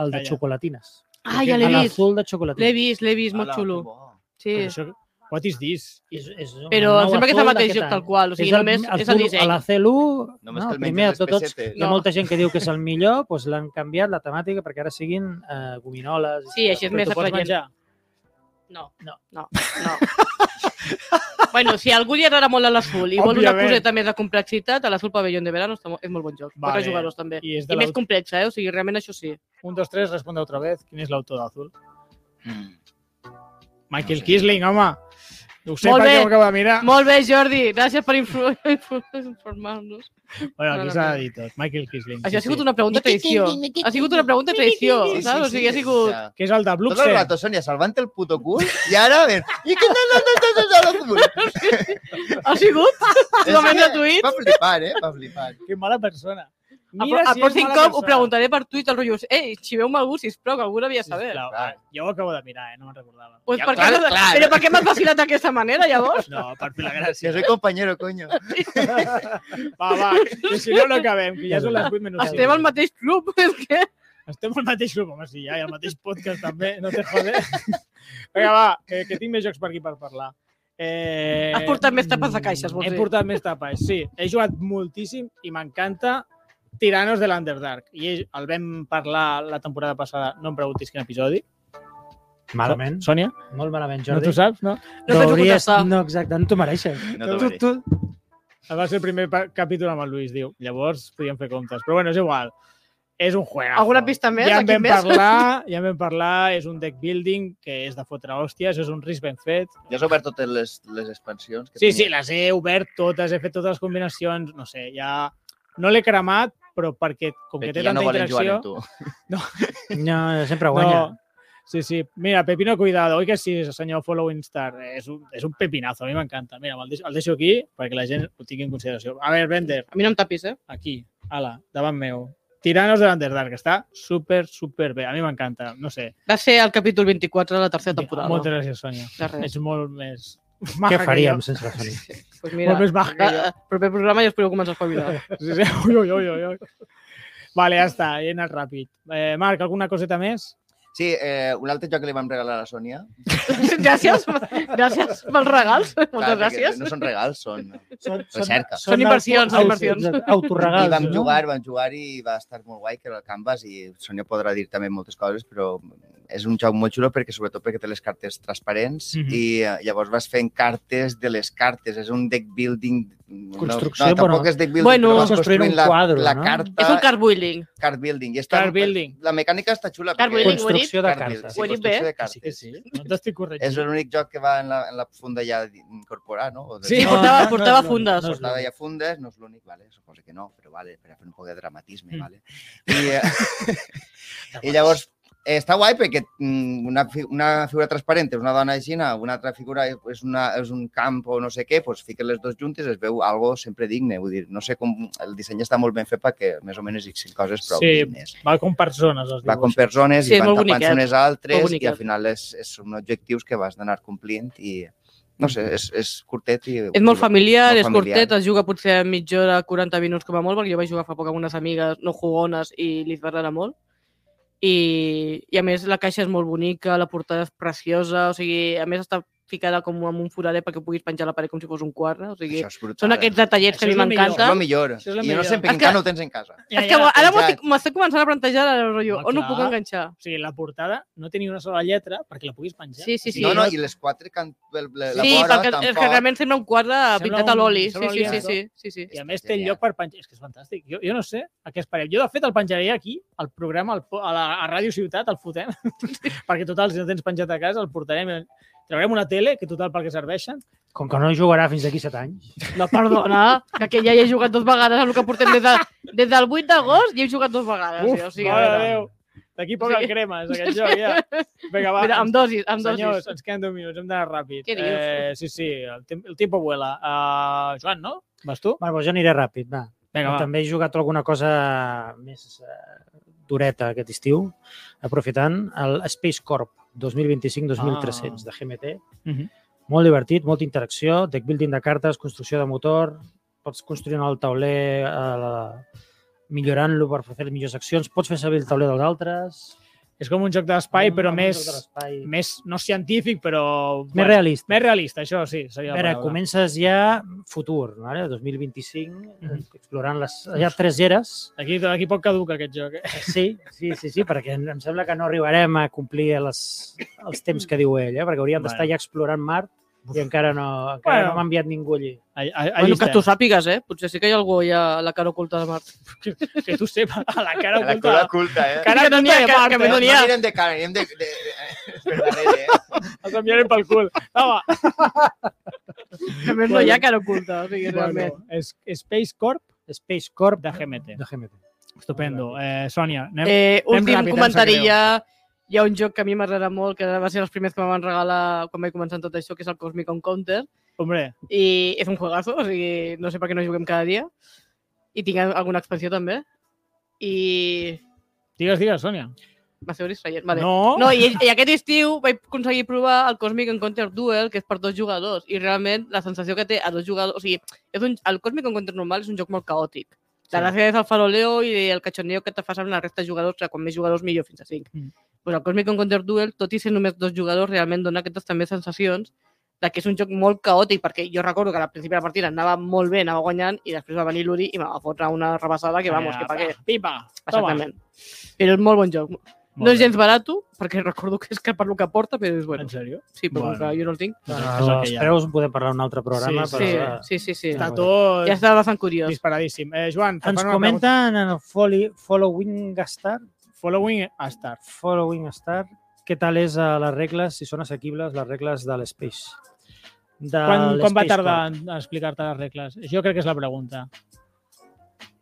Speaker 4: El de
Speaker 1: Calla.
Speaker 4: xocolatines.
Speaker 2: Ah, ja l'he
Speaker 4: A
Speaker 2: vist.
Speaker 4: L'azul de
Speaker 2: L'he
Speaker 4: xocolatines.
Speaker 2: vist, l'he vist, molt
Speaker 3: Hola,
Speaker 2: xulo.
Speaker 3: que bo.
Speaker 2: Sí.
Speaker 1: Però Això... What is this?
Speaker 4: És, és un
Speaker 2: Però
Speaker 4: nou
Speaker 2: em sembla que és el
Speaker 4: azul
Speaker 2: mateix
Speaker 4: d'aquest
Speaker 2: joc tal
Speaker 4: any.
Speaker 2: qual, o sigui,
Speaker 4: el-
Speaker 2: només és
Speaker 4: azul
Speaker 2: el disseny.
Speaker 4: A la CL1,
Speaker 3: Només
Speaker 4: no,
Speaker 3: que el
Speaker 4: primer
Speaker 3: mengen
Speaker 4: de
Speaker 3: les
Speaker 4: tots,
Speaker 3: pessetes.
Speaker 4: hi ha
Speaker 2: No.
Speaker 4: molta gent que diu que és el millor, doncs l'han canviat la temàtica perquè ara siguin eh, gominoles. i
Speaker 2: Sí, així és
Speaker 1: Però
Speaker 2: més
Speaker 1: t'ho pots
Speaker 2: atraient.
Speaker 1: menjar?
Speaker 2: No,
Speaker 4: No.
Speaker 2: no, no. <laughs> bueno, si a algú li agrada molt a l'Azul i vol una
Speaker 1: Òbviament.
Speaker 2: coseta més de complexitat, a l'Azul Pavellón de Verano està, mo- és molt bon joc.
Speaker 1: Vale.
Speaker 2: Vale. jugadors també.
Speaker 1: I és
Speaker 2: I
Speaker 1: de
Speaker 2: més
Speaker 1: l'autor...
Speaker 2: complexa, eh? O sigui, realment això sí.
Speaker 1: Un, dos, tres, responde otra vez. Quin és l'autor d'Azul?
Speaker 3: Mm.
Speaker 1: Michael
Speaker 3: No sé.
Speaker 1: Kisling, home. Ho sé
Speaker 2: Molt
Speaker 1: perquè
Speaker 2: bé.
Speaker 1: ho acabo de mirar.
Speaker 3: Ah.
Speaker 2: Molt bé, Jordi, gràcies per <laughs> influ- influ- informar-nos.
Speaker 1: Bueno, aquí
Speaker 2: No, no,
Speaker 1: s'ha
Speaker 2: no.
Speaker 1: de dir tot. Michael Kisling.
Speaker 2: Això ha
Speaker 1: sí,
Speaker 2: sigut
Speaker 1: sí.
Speaker 2: una pregunta traïció. Ha sigut una pregunta traïció,
Speaker 3: Sí, sí,
Speaker 2: saps? O
Speaker 3: sí,
Speaker 2: sigui, ha
Speaker 3: sí,
Speaker 2: sigut...
Speaker 3: ja.
Speaker 1: Que és el de
Speaker 3: Tot el
Speaker 1: Bluxen.
Speaker 3: rato, Sonia, salvant el puto cul, i ara, ven, i que no, no, no, no, no, no, no, no.
Speaker 2: Ha sigut?
Speaker 3: <laughs>
Speaker 2: <laughs>
Speaker 3: És
Speaker 2: Totalment
Speaker 3: que
Speaker 2: gratuït.
Speaker 3: Va flipar, eh? Va flipar.
Speaker 1: Que mala persona.
Speaker 2: El, pro- el
Speaker 1: si és
Speaker 2: pròxim
Speaker 1: mala
Speaker 2: ah, cop ho
Speaker 1: persona.
Speaker 2: preguntaré per tuit al rotllo. Ei, xiveu-me algú, sisplau, que algú devia saber.
Speaker 1: Sisplau,
Speaker 3: Clar.
Speaker 1: Jo ho acabo de mirar, eh? no me'n recordava.
Speaker 2: <laughs> Pues
Speaker 3: Ja,
Speaker 2: per què
Speaker 3: clar,
Speaker 2: m'has-
Speaker 3: clar.
Speaker 2: Però per què m'has vacilat d'aquesta manera,
Speaker 1: <laughs>
Speaker 2: llavors?
Speaker 1: No, per fer la
Speaker 3: Si
Speaker 1: gràcia.
Speaker 3: soy compañero, coño.
Speaker 1: Va, va, que si no, no acabem, que ja són les 8 minuts.
Speaker 2: Estem al mateix club, <laughs> és que...
Speaker 1: Estem al mateix grup, home, sí, ja, i al mateix podcast també, no te jode. Vinga, va, eh, que, que tinc més jocs per aquí per parlar. Eh,
Speaker 2: Has portat més tapes de caixes, vols
Speaker 1: he
Speaker 2: dir?
Speaker 1: portat més tapes, sí. He jugat moltíssim i m'encanta Tiranos de l'Underdark. I el vam parlar la temporada passada, no em preguntis quin episodi.
Speaker 4: Malament,
Speaker 1: Sònia,
Speaker 4: molt malament,
Speaker 1: no t'ho
Speaker 4: Jordi.
Speaker 1: saps, no?
Speaker 2: No penso
Speaker 4: T'hauries-
Speaker 2: contestar.
Speaker 4: No, exacte, no t'ho mereixes.
Speaker 3: No t'ho
Speaker 4: Tu-
Speaker 3: mereixes.
Speaker 4: tu-
Speaker 1: Va ser el primer pa- capítol amb el Luis, diu. Llavors podíem fer comptes. Però bueno, és igual. És un juego.
Speaker 2: Alguna pista més?
Speaker 1: Ja en
Speaker 2: Aquí
Speaker 1: vam
Speaker 2: més?
Speaker 1: parlar, ja en vam parlar, és un deck building que és de fotre hòsties, és un risc ben fet.
Speaker 3: Ja has obert totes les, les expansions. Que
Speaker 1: Sí,
Speaker 3: tenia.
Speaker 1: sí, les he obert totes, he fet totes les combinacions, no sé, ja... No l'he cremat, però perquè, com que
Speaker 3: Perquè
Speaker 1: té
Speaker 3: ja
Speaker 1: tanta
Speaker 3: no volen jugar
Speaker 1: interacció...
Speaker 3: amb tu.
Speaker 4: No, sempre
Speaker 1: no,
Speaker 4: guanya.
Speaker 1: Sí, sí. Mira, Pepino Cuidado, oi que sí, senyor Following Star? És un, és un pepinazo, a mi m'encanta. Mira, me'l deixo, el deixo aquí perquè la gent ho tingui en consideració. A veure, Bender,
Speaker 2: A mi no em tapis, eh?
Speaker 1: aquí, ala, davant meu. Tiranos de l'Underdark, està super, super bé. A mi m'encanta, no sé.
Speaker 2: Va ser el capítol 24 de la tercera temporada.
Speaker 1: Moltes gràcies, Sònia.
Speaker 2: De res.
Speaker 1: Ets molt més...
Speaker 4: Eh. Què
Speaker 1: maja que
Speaker 4: faríem
Speaker 1: jo.
Speaker 4: sense la Sònia?
Speaker 2: Pues mira,
Speaker 1: Molt més maca que jo.
Speaker 2: el proper programa ja us podeu començar a espavilar.
Speaker 1: <laughs> Sí, sí. Ui, ui, ui, ui, ui. Vale, ja està, he anat ràpid. Eh, Marc, alguna coseta més?
Speaker 3: Sí, eh, un altre joc que li vam regalar a la Sònia.
Speaker 2: gràcies, gràcies pels regals. Moltes
Speaker 3: Clar, perquè
Speaker 2: gràcies.
Speaker 3: No són regals, són...
Speaker 4: Són,
Speaker 3: Recerca.
Speaker 2: Són inversions, són inversions.
Speaker 3: I
Speaker 4: Autoregals,
Speaker 3: vam
Speaker 4: no?
Speaker 3: jugar, vam jugar i va estar molt guai, que era el Canvas, i Sònia podrà dir també moltes coses, però és un joc molt xulo perquè sobretot perquè té les cartes transparents
Speaker 1: Mhm.
Speaker 3: i eh, llavors vas fent cartes de les cartes. És un deck building... no-
Speaker 4: Construcció,
Speaker 3: no, tampoc
Speaker 4: bueno.
Speaker 3: és deck building,
Speaker 2: Bueno,
Speaker 3: però vas
Speaker 4: Vas construint
Speaker 3: construint
Speaker 4: un
Speaker 3: la,
Speaker 4: quadre,
Speaker 3: la
Speaker 4: no?
Speaker 3: carta,
Speaker 2: És un card building.
Speaker 3: card building. I està,
Speaker 1: Card building.
Speaker 3: La mecànica està xula.
Speaker 2: Card
Speaker 3: perquè-
Speaker 2: building,
Speaker 4: Construcció de
Speaker 3: Card building,
Speaker 4: cartes.
Speaker 3: Sí,
Speaker 2: Ho he dit
Speaker 3: construcció
Speaker 2: bé?
Speaker 3: de cartes.
Speaker 1: Sí que sí. No t'estic corregint.
Speaker 3: És l'únic joc que va en la, en la funda ja incorporar, no? O de-
Speaker 2: Sí,
Speaker 4: No,
Speaker 2: portava,
Speaker 4: no, no,
Speaker 2: portava
Speaker 4: no,
Speaker 2: fundes.
Speaker 4: no, no.
Speaker 3: portada ja fundes, no és l'únic, vale? suposo que no, però vale, per a fer un poc de dramatisme,
Speaker 2: Mm.
Speaker 3: vale? I,
Speaker 2: <laughs>
Speaker 3: eh, <laughs> i llavors, eh, està guai perquè mm, una, fi- una figura transparent és una dona així, una altra figura és, una, és un camp o no sé què, doncs fiquen les dues juntes es veu algo sempre digne, vull dir, no sé com... El disseny està molt ben fet perquè més o menys hi coses prou
Speaker 1: Sí.
Speaker 3: sí. dignes.
Speaker 1: Va com per zones, els
Speaker 3: Va com
Speaker 1: dibuixos.
Speaker 3: per zones
Speaker 2: Sí,
Speaker 3: i van
Speaker 2: molt
Speaker 3: tapant-se
Speaker 2: boniquet.
Speaker 3: unes
Speaker 2: Molt
Speaker 3: altres i
Speaker 2: boniquet.
Speaker 3: al final és, és, són objectius que vas d'anar complint i no sé, és, és curtet i...
Speaker 2: Mm. És molt familiar,
Speaker 3: Molt
Speaker 2: és
Speaker 3: familiar.
Speaker 2: curtet, es juga potser a mitja hora, 40 minuts com a molt, perquè jo vaig jugar fa poc amb unes amigues no jugones i li va agradar molt. I, I a més la caixa és molt bonica, la portada és preciosa, o sigui, a més està ficada com en un foradet perquè puguis penjar a la paret com si fos un quadre, o sigui,
Speaker 3: Això és brutal. eh?
Speaker 2: són aquests
Speaker 1: Això
Speaker 2: detallets que a
Speaker 1: és lo
Speaker 2: mi
Speaker 1: millor.
Speaker 3: Això és
Speaker 2: m'encanta.
Speaker 3: el millor.
Speaker 1: Això és la
Speaker 3: I no
Speaker 1: millor.
Speaker 3: sé,
Speaker 2: És
Speaker 3: perquè
Speaker 2: que-
Speaker 3: encara no ho tens en casa.
Speaker 1: Ja,
Speaker 2: És que
Speaker 1: ja.
Speaker 2: ara m'ho
Speaker 3: penjat.
Speaker 2: estic- m'estic començant a plantejar el rotllo,
Speaker 1: Home,
Speaker 2: on ho
Speaker 1: clar.
Speaker 2: puc enganxar?
Speaker 1: O sigui, la portada no tenia una sola lletra perquè la puguis penjar.
Speaker 2: Sí, sí, sí.
Speaker 3: no, no, i les quatre can... la, la
Speaker 2: sí,
Speaker 3: vora,
Speaker 2: perquè és
Speaker 3: tampoc.
Speaker 2: que realment sembla un quadre
Speaker 1: Sembla
Speaker 2: pintat a
Speaker 1: un-
Speaker 2: l'oli. Sí,
Speaker 1: sembla
Speaker 2: sí, sí,
Speaker 1: l'oli,
Speaker 2: sí, sí, sí.
Speaker 1: I a més té
Speaker 3: Genial.
Speaker 1: lloc per penjar. És que és fantàstic. Jo, jo no sé a què esperem. Jo, de fet, el penjaré aquí, al programa, al, po- a, la, a Ràdio Ciutat, el fotem. <laughs> perquè, total, si no tens penjat a casa, el portarem... Traurem una tele, que total per què serveixen.
Speaker 4: Com que no jugarà fins d'aquí 7 anys.
Speaker 2: No, perdona, que aquell ja hi he jugat dos vegades amb el que portem des, de, des del 8 d'agost i he jugat dos vegades. Uf, o sigui, a
Speaker 1: mare de
Speaker 2: veure,
Speaker 1: Déu. D'aquí poc
Speaker 2: O
Speaker 1: el
Speaker 2: sigui-
Speaker 1: cremes, aquest joc, ja. Vinga, va.
Speaker 2: mira, amb dosis, amb
Speaker 1: Senyors,
Speaker 2: dosis.
Speaker 1: ens queden 10 minuts, hem d'anar ràpid.
Speaker 2: Què dius?
Speaker 1: Eh, sí, sí, el, tem el tiempo vuela. Uh, Joan, no? Vas tu?
Speaker 4: Bueno, doncs jo aniré ràpid, va.
Speaker 1: Vinga, va.
Speaker 4: També he jugat alguna cosa més eh, dureta aquest estiu, aprofitant el Space Corp 2025-2300
Speaker 1: Ah.
Speaker 4: de GMT.
Speaker 1: Mhm.
Speaker 4: Molt divertit, molta interacció, deck building de cartes, construcció de motor, pots construir en el tauler eh, millorant-lo per fer millors accions, pots fer servir el tauler dels altres...
Speaker 1: És com un joc d'espai, però
Speaker 4: Un
Speaker 1: més,
Speaker 4: altre espai.
Speaker 1: més, no científic, però...
Speaker 4: més realista.
Speaker 1: Més realista, això sí, seria la
Speaker 4: A veure,
Speaker 1: paraula.
Speaker 4: comences ja futur, vale? 2025,
Speaker 1: Mhm.
Speaker 4: explorant les... Hi ha tres
Speaker 1: <laughs>
Speaker 4: eres.
Speaker 1: Aquí, aquí pot caduca aquest joc. Eh?
Speaker 4: Sí, sí, sí, sí, perquè em em sembla que no arribarem a complir les, els temps que diu ell, eh? perquè hauríem d'estar
Speaker 1: Bueno.
Speaker 4: ja explorant Mart i encara no, encara
Speaker 1: Bueno.
Speaker 4: no m'ha enviat ningú allí.
Speaker 1: A, a, a
Speaker 2: Bueno, que
Speaker 1: llista.
Speaker 2: tu sàpigues, eh? Potser sí que hi ha algú ja a la cara oculta de Mart.
Speaker 1: que tu sepa, a la cara
Speaker 3: A la cola
Speaker 1: oculta.
Speaker 3: culta, eh?
Speaker 1: Cara
Speaker 2: Que no n'hi ha,
Speaker 1: oculta de
Speaker 2: que-
Speaker 1: Mart,
Speaker 2: que
Speaker 1: eh?
Speaker 2: me
Speaker 3: No, no
Speaker 2: donia.
Speaker 3: anirem de cara, anirem de... de, de... <laughs> per darrere, eh?
Speaker 1: Els enviarem pel cul. Home,
Speaker 2: A més, no hi ha cara oculta, o sigui, realment.
Speaker 1: bueno, és Space Corp
Speaker 4: Space Corp
Speaker 1: de GMT.
Speaker 4: de GMT.
Speaker 1: Estupendo. Eh, Sònia, anem...
Speaker 2: Eh,
Speaker 1: anem
Speaker 2: últim
Speaker 1: ràpid, em sap
Speaker 2: comentari
Speaker 1: greu.
Speaker 2: ja. Hi ha un joc que a mi m'agrada molt, que va ser els primers que em van regalar quan vaig començar amb tot això, que és el Cosmic Encounter.
Speaker 1: Hombre,
Speaker 2: I és un juegazo, o sigui, no sé per què no juguem cada dia. I tinc alguna expansió també. I
Speaker 1: digues, digues, Sònia.
Speaker 2: m'esteu distraient. Vale.
Speaker 1: No?
Speaker 2: No, i, i aquest estiu vaig aconseguir provar el Cosmic Encounter Duel, que és per dos jugadors, i realment la sensació que té a dos jugadors... O sigui, és un, el Cosmic Encounter normal és un joc molt caòtic. La
Speaker 1: Sí.
Speaker 2: gràcia és el faroleo i el catxoneo que te fas amb la resta de jugadors, que quan més jugadors millor, fins a cinc.
Speaker 1: Mm.
Speaker 2: Mm. Pues el Cosmic Encounter Duel, tot i ser només dos jugadors, realment dona aquestes també sensacions de que és un joc molt caòtic, perquè jo recordo que al principi de la partida anava molt bé, anava guanyant, i després va venir l'Uri i em va fotre una rebassada que, vamos, que pa' què.
Speaker 1: Pipa, toma.
Speaker 2: Exactament. Però és molt bon joc,
Speaker 1: Molt
Speaker 2: no és
Speaker 1: bé.
Speaker 2: gens barat, perquè recordo que és que per lo que aporta, però és bueno.
Speaker 1: En sèrio?
Speaker 2: Sí, però
Speaker 1: Bueno.
Speaker 2: bueno. que jo no el tinc.
Speaker 4: No,
Speaker 1: Doncs
Speaker 4: no,
Speaker 1: és el
Speaker 4: no,
Speaker 1: que
Speaker 4: els
Speaker 1: hi ha.
Speaker 4: preus en podem parlar en un altre programa.
Speaker 1: Sí,
Speaker 4: però,
Speaker 2: Sí,
Speaker 4: eh,
Speaker 2: sí, sí. sí.
Speaker 1: Està
Speaker 4: bueno.
Speaker 1: tot
Speaker 2: Ja està bastant curiós.
Speaker 1: disparadíssim. Eh, Joan,
Speaker 4: Ens comenten en el Folly- Following Star,
Speaker 1: Following a Star.
Speaker 4: Following Star, què tal és eh, les regles, si són assequibles, les regles de l'Space. De
Speaker 1: Quan, quan va
Speaker 4: l'Space
Speaker 1: tardar
Speaker 4: Corp.
Speaker 1: en- a explicar-te les regles? Jo crec que és la pregunta.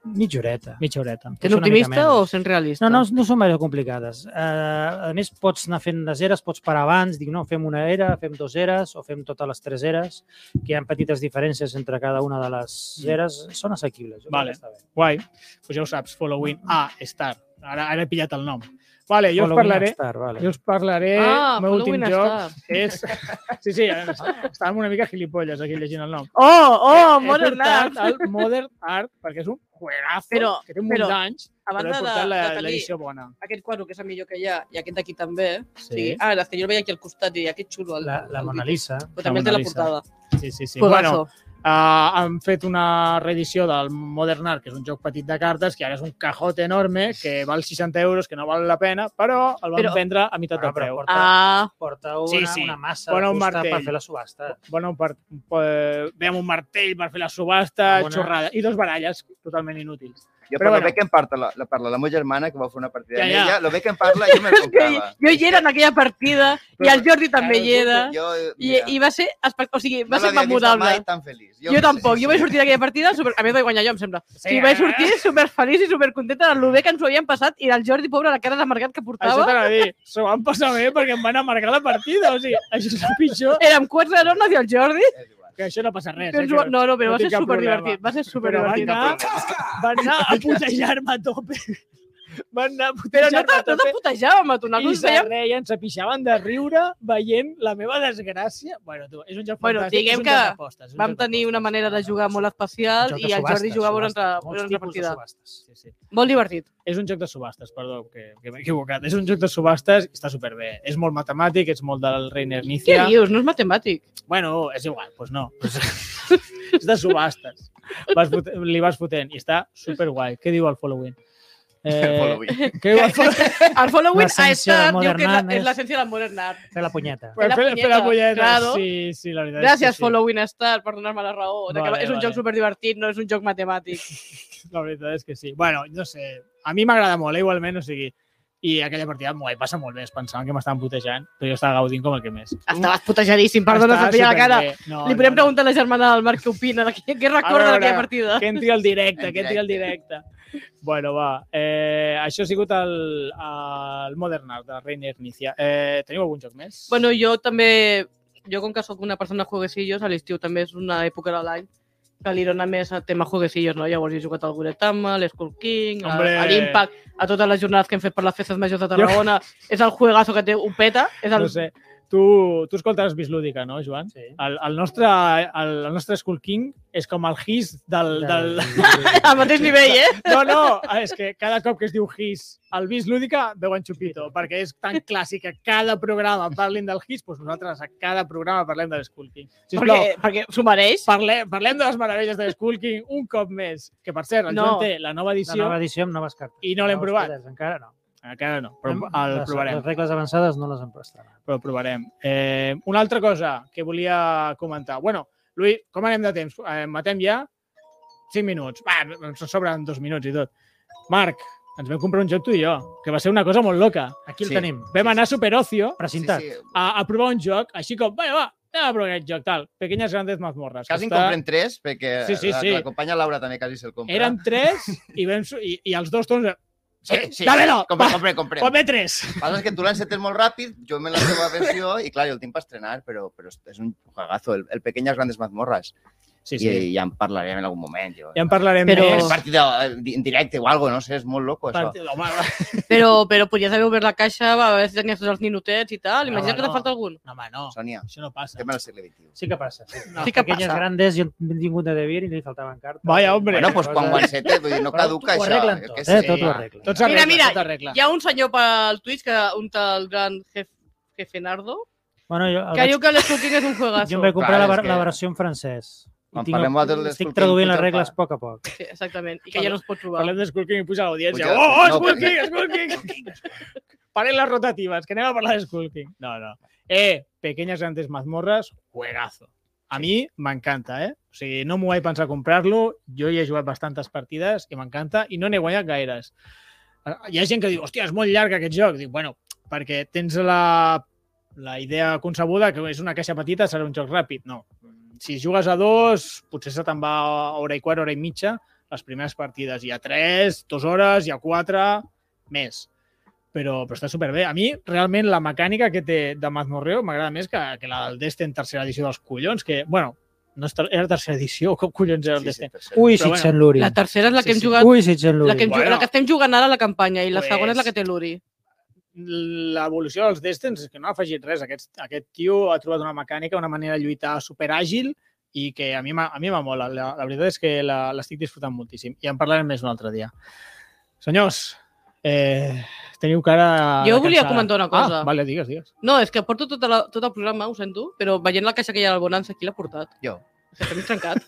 Speaker 4: mitja horeta.
Speaker 1: mitja horeta.
Speaker 2: Sent
Speaker 4: Potser una mica
Speaker 2: optimista
Speaker 4: menys.
Speaker 2: o sent realista?
Speaker 4: No, no, no són gaire complicades. Uh, a més, pots anar fent les eres, pots parar abans, dic, no, fem una era, fem dues eres o fem totes les tres eres, que hi ha petites diferències entre cada una de les eres. Són assequibles. jo crec
Speaker 1: Vale.
Speaker 4: que Està bé.
Speaker 1: Guai. Pues ja ho saps, Following A Star. Ara, ara he pillat el nom. Vale, jo us
Speaker 4: Halloween
Speaker 1: parlaré...
Speaker 4: Star, vale.
Speaker 1: Jo us parlaré...
Speaker 2: Ah,
Speaker 1: el meu últim
Speaker 2: Following a
Speaker 1: joc
Speaker 2: Star.
Speaker 1: és... <laughs> Sí, sí, estàvem una mica gilipolles aquí llegint el nom.
Speaker 2: Oh, oh,
Speaker 1: He
Speaker 2: Modern
Speaker 1: portat
Speaker 2: Art!
Speaker 1: El Modern Art, perquè és un juegazo
Speaker 2: Però-
Speaker 1: que té un
Speaker 2: però,
Speaker 1: munt d'anys,
Speaker 2: A
Speaker 1: però he
Speaker 2: banda de,
Speaker 1: portat
Speaker 2: de
Speaker 1: la-
Speaker 2: tenir
Speaker 1: l'edició bona.
Speaker 2: aquest quadro, que és el millor que hi ha, i aquest d'aquí també.
Speaker 1: Sí.
Speaker 2: Sí. sí. Ah, les que jo el veia aquí al costat i aquest xulo. El,
Speaker 4: La,
Speaker 1: Ah,
Speaker 4: la Mona Lisa.
Speaker 2: Però també
Speaker 1: La
Speaker 2: el té
Speaker 1: Mona
Speaker 2: la
Speaker 1: Lisa.
Speaker 2: portada.
Speaker 1: Sí, sí, sí.
Speaker 2: Sí, bueno,
Speaker 1: Bueno, Uh, han fet una reedició del Modern Art, que és un joc petit de cartes, que ara és un cajote enorme, que val 60 euros, que no val la pena, però el van
Speaker 2: Però-
Speaker 1: vendre a meitat de
Speaker 4: Ah, però
Speaker 1: preu.
Speaker 4: porta,
Speaker 2: ah,
Speaker 4: porta una,
Speaker 1: Sí, sí.
Speaker 4: una massa
Speaker 1: Pon
Speaker 4: de
Speaker 1: un
Speaker 4: fusta
Speaker 1: martell.
Speaker 4: per fer la subhasta.
Speaker 1: Bueno, per, per, ve amb un martell per fer la subhasta,
Speaker 4: Amb
Speaker 1: una...
Speaker 4: una-
Speaker 1: xorrada, i dos baralles totalment inútils.
Speaker 3: Jo
Speaker 1: Però
Speaker 3: però, però
Speaker 1: bueno.
Speaker 3: bueno. bé que em parla la, la, parla la meva germana, que va fer una partida
Speaker 1: Ja,
Speaker 3: ja, amb
Speaker 1: ja.
Speaker 3: ella, lo bé que em parla, jo me'l
Speaker 2: que
Speaker 3: comprava.
Speaker 2: <laughs> jo hi era en aquella partida i el Jordi també hi era.
Speaker 3: Jo,
Speaker 2: I, i va ser, espec- o sigui, va
Speaker 3: no
Speaker 2: ser
Speaker 3: l'havia vist
Speaker 2: memorable.
Speaker 3: Mai tan feliç.
Speaker 2: Jo, tampoc, jo
Speaker 3: <laughs>
Speaker 2: vaig sortir d'aquella partida, super... a mi em vaig guanyar jo, em sembla. Sí, I
Speaker 1: eh?
Speaker 2: vaig sortir superfeliç i supercontenta del bé que ens ho havien passat i el Jordi, pobre, la cara d'amargat que
Speaker 1: Això
Speaker 2: portava.
Speaker 1: t'ha de dir, s'ho van passar bé perquè em van amargar la partida, o sigui, això és el pitjor,
Speaker 2: Érem quatre herones i el Jordi.
Speaker 3: És igual.
Speaker 1: que això no passa res.
Speaker 2: que
Speaker 1: eh,
Speaker 2: ens ho-
Speaker 1: que-
Speaker 2: No, no, però
Speaker 1: no
Speaker 2: va ser
Speaker 1: tinc cap
Speaker 2: superdivertit. Va ser
Speaker 1: Però van
Speaker 2: superdivertit.
Speaker 1: anar, van anar a putejar-me a tope. <laughs> Van anar a
Speaker 2: Però no
Speaker 1: putejar-me
Speaker 2: te,
Speaker 1: a
Speaker 2: no
Speaker 1: tope.
Speaker 2: te putejàvem, a tu.
Speaker 1: I
Speaker 2: Nosaltres
Speaker 1: se
Speaker 2: veiem...
Speaker 1: reien, se pixaven de riure veient la meva desgràcia. Bueno, tu, és un joc
Speaker 2: Bueno,
Speaker 1: fantàstic,
Speaker 2: diguem
Speaker 1: és un
Speaker 2: que
Speaker 1: joc d'apostes. és un
Speaker 2: Vam
Speaker 1: joc
Speaker 2: tenir
Speaker 1: d'apostes.
Speaker 2: una manera de jugar molt especial
Speaker 4: Un joc de
Speaker 2: i el Jordi
Speaker 4: subhastes,
Speaker 2: jugava una,
Speaker 4: subhastes,
Speaker 2: una,
Speaker 4: molts
Speaker 2: altra
Speaker 4: tipus de
Speaker 2: partida.
Speaker 4: subhastes.
Speaker 1: Sí, sí.
Speaker 2: Molt divertit.
Speaker 1: És un joc de subhastes, perdó, que, que m'he equivocat. És un joc de subhastes i està superbé. És molt matemàtic, és molt del Reiner
Speaker 2: Què
Speaker 1: Nícia.
Speaker 2: dius? No és matemàtic.
Speaker 1: Bueno, és igual, doncs no. <laughs> és de subhastes. Vas fot- li vas fotent i està superguai. Què diu el
Speaker 2: <laughs>
Speaker 1: following? Eh,
Speaker 3: Halloween.
Speaker 1: què diu el following?
Speaker 2: <laughs> El following a
Speaker 4: L'essència
Speaker 2: estar
Speaker 4: del
Speaker 2: diu que és la-
Speaker 4: modern
Speaker 2: és l'essència del modern art.
Speaker 4: Fer la punyeta.
Speaker 2: Fer la
Speaker 1: fer la
Speaker 2: punyeta,
Speaker 1: polleta.
Speaker 2: claro.
Speaker 1: Sí, sí, la veritat. és que
Speaker 2: Gràcies,
Speaker 1: sí.
Speaker 2: Following Star, per donar-me la raó. de que
Speaker 1: Vale,
Speaker 2: és un
Speaker 1: vale.
Speaker 2: joc superdivertit, no és un joc matemàtic. <laughs>
Speaker 1: La veritat és que sí. Bueno, no sé, a mi m'agrada molt, eh, igualment, o sigui, i aquella partida m'ho vaig passar molt bé, es pensaven que m'estaven putejant, però jo estava gaudint com el que més.
Speaker 2: Estaves putejadíssim, perdona,
Speaker 1: Ah, Estava
Speaker 2: se't veia la cara.
Speaker 1: superbé. No,
Speaker 2: Li podem preguntar a la germana del Marc què opina, de què, què recorda
Speaker 1: veure,
Speaker 2: d'aquella partida.
Speaker 1: Que entri al directe,
Speaker 3: En
Speaker 1: que entri al directe. Bueno, va. Eh, això ha sigut el, el Modern Art de Reiner Nícia. Eh, teniu algun joc més?
Speaker 2: Bueno, jo també, jo com que sóc una persona de jueguecillos, a l'estiu també és una època de l'any que li dona més a tema jueguecillos, no? Llavors he jugat al Guretama, a l'Skull King, a,
Speaker 1: Hombre.
Speaker 2: a l'Impact, a totes les jornades que hem fet per les festes majors de Tarragona. És el juegazo que té, ho peta. És el...
Speaker 1: no sé. Tu, tu escoltes Bislúdica, no, Joan?
Speaker 4: Sí.
Speaker 1: El, el, nostre, el, el nostre Skull King és com el his del, del,
Speaker 2: Al mateix nivell, eh?
Speaker 1: <laughs> No, no, és que cada cop que es diu His al Bis Lúdica veuen Chupito, perquè és tan clàssic que cada programa parlin del His, doncs nosaltres a cada programa parlem de l'Skulking. Sisplau,
Speaker 2: Perquè, perquè s'ho mereix.
Speaker 1: parle, parlem de les meravelles de l'Skulking un cop més, que per cert, el
Speaker 2: No.
Speaker 1: Joan té la nova
Speaker 4: La
Speaker 1: edició,
Speaker 4: nova edició amb noves cartes.
Speaker 1: I no l'hem
Speaker 4: Nous
Speaker 1: provat.
Speaker 4: poders, Encara no.
Speaker 1: encara no, però el
Speaker 4: les,
Speaker 1: provarem.
Speaker 4: Les regles avançades no les hem prestat.
Speaker 1: Però el provarem. Eh, una altra cosa que volia comentar. Bueno, Lluís, com anem de temps? Eh, matem ja? 5 minuts. Va, ens sobren dos minuts i tot. Marc, ens vam comprar un joc tu i jo, que va ser una cosa molt loca.
Speaker 4: Aquí el
Speaker 3: Sí.
Speaker 4: tenim.
Speaker 1: Vam anar a Superocio
Speaker 4: Precintat.
Speaker 3: Sí, sí.
Speaker 1: a, a provar un joc, així com, va, va, anem a provar aquest joc, tal. Pequeñas grandes mazmorras. que
Speaker 3: Quasi en
Speaker 1: està-
Speaker 3: comprem tres, perquè
Speaker 1: Sí, sí,
Speaker 3: la,
Speaker 1: sí.
Speaker 3: la companya Laura també quasi se'l compra.
Speaker 1: Érem tres i, vam, su- i, i els dos tots...
Speaker 3: Sí, sí.
Speaker 1: Dámelo!
Speaker 3: Compre, compre, compre.
Speaker 1: Pot bé tres!
Speaker 3: El que Passa és que tu l'encetes molt ràpid, jo me la teva versió i, clar, jo el tinc per estrenar, però, però és un juegazo, el, el Pequeñas Grandes Mazmorras.
Speaker 1: Sí,
Speaker 3: Sí, sí.
Speaker 1: sí.
Speaker 3: I ja en parlarem en algun moment. Jo.
Speaker 1: Ja en parlarem
Speaker 2: Però-
Speaker 1: més.
Speaker 3: És partida eh, en directe o algo, no sé, és molt loco, això.
Speaker 1: Part- Home, va-
Speaker 2: Però, però podies haver obert la caixa, va, a veure si tenies tots els ninotets i
Speaker 3: Ah,
Speaker 2: tal.
Speaker 1: No,
Speaker 2: Imagina't que
Speaker 1: no.
Speaker 2: te falta algun.
Speaker 1: no, home, no.
Speaker 3: Sònia,
Speaker 1: Això no passa.
Speaker 3: estem al segle XXI.
Speaker 4: Sí que passa. Sí,
Speaker 1: No,
Speaker 2: sí que
Speaker 4: Pequeñas
Speaker 2: passa.
Speaker 4: grandes, jo he vingut de Devir i li faltaven cartes.
Speaker 1: Vaya, hombre.
Speaker 3: Bueno, doncs quan
Speaker 4: Coses-
Speaker 3: ho encetes, vull dir, no
Speaker 4: Però
Speaker 3: caduca
Speaker 4: ho
Speaker 3: això.
Speaker 4: arreglen
Speaker 3: jo
Speaker 4: tot,
Speaker 3: què
Speaker 4: eh?
Speaker 3: sé.
Speaker 1: Tota
Speaker 4: Tot ho arreglen.
Speaker 1: Tot
Speaker 2: Mira,
Speaker 1: s'arregla,
Speaker 2: mira,
Speaker 1: tot
Speaker 3: Ah.
Speaker 1: s'arregla.
Speaker 2: Hi ha un senyor pel Twitch, que un tal gran jef, Jefenardo,
Speaker 4: Bueno, jo, el
Speaker 2: que
Speaker 4: vaig,
Speaker 2: diu que l'Skull King és un
Speaker 4: jo
Speaker 2: juegazo.
Speaker 4: em vaig comprar
Speaker 3: Clar,
Speaker 4: la,
Speaker 3: és
Speaker 4: ver-
Speaker 3: que-
Speaker 4: la versió en francès. I
Speaker 3: Quan
Speaker 4: tinc-
Speaker 3: parlem vosaltres de
Speaker 4: Estic
Speaker 3: Skull King,
Speaker 4: traduint les
Speaker 3: puja el
Speaker 4: regles
Speaker 3: pa.
Speaker 4: a poc a poc.
Speaker 2: Sí, exactament. I que ja no es pot trobar.
Speaker 1: Parlem d'Skulking i puja l'audiència.
Speaker 3: Puja-
Speaker 1: Oh, oh,
Speaker 3: no,
Speaker 1: Skulking, Skulking! Parem les rotatives, que anem a parlar d'Skulking. No, no. Eh, Pequeñas Grandes Mazmorras, juegazo. A mi m'encanta, eh? O sigui, no m'ho vaig pensar comprar-lo, jo hi he jugat bastantes partides i m'encanta, i no n'he guanyat gaires. Ah, Hi ha gent que diu, hòstia, és molt llarg aquest joc. Dic, bueno, perquè tens la, la idea concebuda que és una caixa petita, serà un joc ràpid. No, si jugues a dos, potser se te'n va hora i quart, hora i mitja, les primeres partides hi ha 3, 2 hores, hi ha 4, més. Però, però està superbé. A mi, realment, la mecànica que té de Mazmorreo m'agrada més que, que la del Destiny en tercera edició dels collons, que, bueno, no és ter era tercera edició, com collons era el sí, Destiny?
Speaker 3: tercera.
Speaker 4: Ui,
Speaker 1: Però bueno,
Speaker 4: Sitxen Luri.
Speaker 2: La tercera és la que
Speaker 1: Sí,
Speaker 2: hem
Speaker 1: sí.
Speaker 2: jugat...
Speaker 4: Ui,
Speaker 2: La
Speaker 4: Sitxen
Speaker 2: que,
Speaker 4: Luri.
Speaker 2: hem, bueno.
Speaker 1: Bueno.
Speaker 2: la que estem jugant ara a la campanya i la
Speaker 1: Pues-
Speaker 2: segona és la que té l'Uri.
Speaker 1: l'evolució dels Destins és que no ha afegit res. Aquest, aquest tio ha trobat una mecànica, una manera de lluitar superàgil i que a mi m'ha- a mi m'ha mola. La, la veritat és que la- l'estic disfrutant moltíssim i en parlarem més un altre dia. Senyors, eh, teniu cara...
Speaker 2: Jo
Speaker 1: de
Speaker 2: volia
Speaker 1: cansada.
Speaker 2: comentar una cosa.
Speaker 1: Ah, vale, digues, digues.
Speaker 2: No, és que porto tot, la, tot el programa, ho sento, però veient la caixa que hi ha al Bonanza, qui l'ha portat?
Speaker 3: Jo.
Speaker 2: És que t'hem trencat.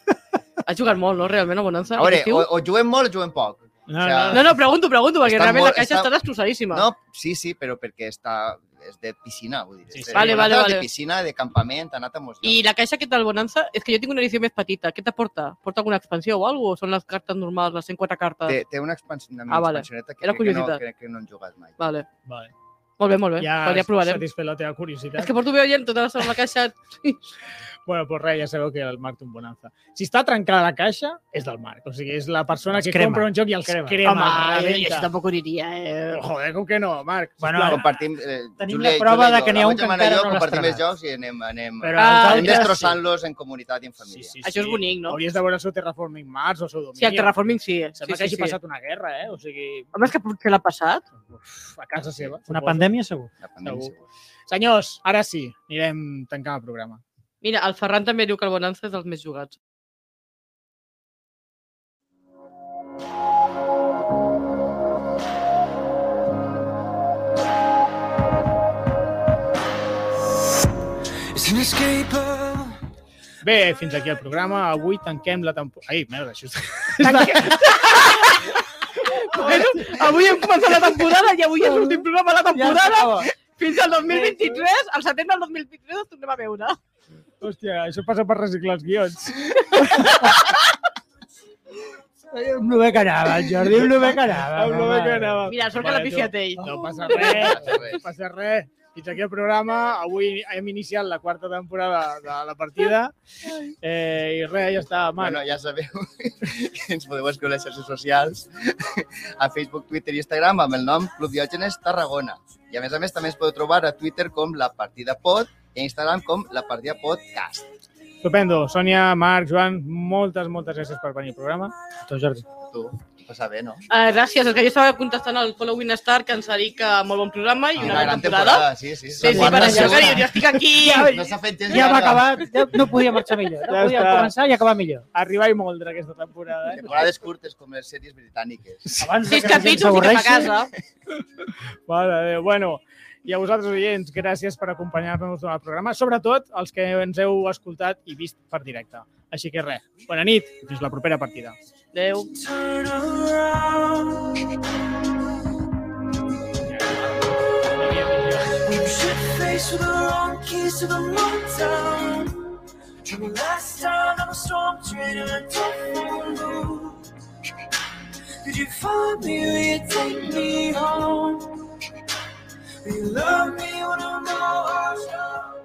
Speaker 2: Has jugat molt, no, realment, a Bonanza?
Speaker 3: A veure,
Speaker 2: aquest estiu?
Speaker 3: o, o juguem molt o juguem poc.
Speaker 1: No,
Speaker 3: O sea,
Speaker 2: No, no, pregunto, pregunto, perquè
Speaker 3: Està
Speaker 2: realment
Speaker 3: molt-
Speaker 2: la caixa
Speaker 3: està-
Speaker 2: està destrossadíssima.
Speaker 3: No, sí, sí, però perquè està, és de piscina, vull dir.
Speaker 1: Sí,
Speaker 3: és
Speaker 1: sí.
Speaker 3: de-
Speaker 2: Vale,
Speaker 3: ha
Speaker 2: vale,
Speaker 3: anat
Speaker 2: vale.
Speaker 3: De piscina, de campament, ha anat a molts llocs.
Speaker 2: I la caixa aquesta del Bonanza, és que jo tinc una edició més petita. Què t'aporta? Porta alguna expansió o alguna cosa? O són les cartes normals, les 104 cartes?
Speaker 3: Té, té una, expansió, una
Speaker 2: Ah, vale.
Speaker 3: expansioneta que,
Speaker 2: Era
Speaker 3: crec que, no,
Speaker 2: curiositat.
Speaker 3: crec que no hem jugat mai.
Speaker 2: Vale.
Speaker 1: Vale.
Speaker 2: Molt bé, molt bé.
Speaker 1: Ja,
Speaker 2: Ja, ja provarem.
Speaker 1: satisfet la teva curiositat. <laughs>
Speaker 2: És que porto veient tota la segona caixa.
Speaker 1: Bueno, pues res, ja sabeu que el Marc té un bonanza. Si està trencada la caixa, és del Marc. O sigui, és la persona
Speaker 4: Els
Speaker 1: que
Speaker 4: crema.
Speaker 1: compra un joc i els crema.
Speaker 4: Crema.
Speaker 1: crema els
Speaker 2: jo
Speaker 1: rebenta.
Speaker 2: això tampoc ho diria, eh?
Speaker 1: Joder, com que no, Marc?
Speaker 4: Bueno,
Speaker 1: Sisplau.
Speaker 4: ara-
Speaker 3: Compartim, eh,
Speaker 4: Tenim
Speaker 3: Júlia-
Speaker 4: la prova
Speaker 3: Júlia i
Speaker 4: de
Speaker 3: jo.
Speaker 4: que n'hi ha
Speaker 3: La
Speaker 4: un que
Speaker 3: setmana
Speaker 4: encara
Speaker 3: jo
Speaker 4: no l'ha
Speaker 3: compartim els
Speaker 4: estrenat.
Speaker 3: jocs i anem, anem,
Speaker 4: Però
Speaker 2: Ah,
Speaker 4: els
Speaker 3: anem
Speaker 4: altres sí.
Speaker 3: destrossant-los en comunitat i en família.
Speaker 2: Això és bonic, no?
Speaker 1: Hauries de veure el seu Terraforming Mars o el seu Dominion.
Speaker 2: Sí, el Terraforming sí. eh?
Speaker 1: Sembla
Speaker 2: sí,
Speaker 1: que hagi
Speaker 2: sí, sí.
Speaker 1: passat una guerra, eh? O sigui,
Speaker 2: Home, és que potser l'ha passat.
Speaker 1: uf, a casa seva.
Speaker 4: Una
Speaker 1: suposo.
Speaker 4: pandèmia, segur.
Speaker 3: La pandèmia,
Speaker 1: Segur.
Speaker 3: segur.
Speaker 1: Senyors, ara sí, anirem tancant el programa.
Speaker 2: Mira, el Ferran també diu que el Bonanza és dels més jugats.
Speaker 5: It's inescapable.
Speaker 1: Bé, fins aquí el programa. Avui tanquem la temporada... Ai, merda, això és...
Speaker 2: Bueno, avui hem començat la temporada i avui és l'últim programa de la temporada. Fins al 2023, al setembre del 2023 ens tornem a veure.
Speaker 1: Hòstia, això passa per reciclar els guions.
Speaker 4: Amb lo bé que
Speaker 2: Ah,
Speaker 4: anava, el Jordi, amb lo bé que anava.
Speaker 1: Amb lo bé que anava.
Speaker 2: Mira, sort que l'ha
Speaker 1: Vale, tu.
Speaker 2: pifiat ell.
Speaker 1: No passa res, no passa res. Fins aquí el programa. Avui hem iniciat la quarta temporada de la partida. Eh, I res, ja està, Marc.
Speaker 3: Bueno, ja sabeu <laughs> que ens podeu escriure a les xarxes socials a Facebook, Twitter i Instagram amb el nom Club Diògenes Tarragona. I a més a més també ens podeu trobar a Twitter com La Partida Pod i a Instagram com La Partida Podcast.
Speaker 1: Estupendo. Sònia, Marc, Joan, moltes, moltes gràcies per venir al programa.
Speaker 4: Tu, Jordi.
Speaker 3: Tu, ho passa bé, no?
Speaker 2: Uh, gràcies, és que jo estava contestant al Following Star, que ens dedica molt bon programa i
Speaker 4: Ah,
Speaker 2: una gran temporada.
Speaker 3: sí, sí.
Speaker 2: Sí, sí, per
Speaker 3: La quarta
Speaker 2: això que
Speaker 3: segona.
Speaker 2: dius, jo estic aquí.
Speaker 3: No s'ha fet gens
Speaker 4: Ja
Speaker 3: de
Speaker 4: va
Speaker 3: nada.
Speaker 4: acabar, ja no podia marxar millor. No
Speaker 1: Ja
Speaker 4: podia
Speaker 1: està.
Speaker 4: començar i acabar millor.
Speaker 1: Arribar i moldre aquesta temporada. Eh?
Speaker 3: Temporades curtes com les sèries britàniques.
Speaker 4: Abans de
Speaker 2: Sis
Speaker 4: que la gent
Speaker 2: capítols i cap a
Speaker 4: s'avorreixi.
Speaker 2: casa.
Speaker 1: Mare de Déu. Bueno, i a vosaltres, oients, gràcies per acompanyar-nos durant el programa, sobretot els que ens heu escoltat i vist per directe. Així que res, bona nit i fins la propera partida.
Speaker 2: Adéu.
Speaker 5: Turn around. We should face with the wrong keys to the mountain. From the last time I'm a storm trainer, I don't know. Did you find me? Will you take me home? Will you love me when I'm all washed up?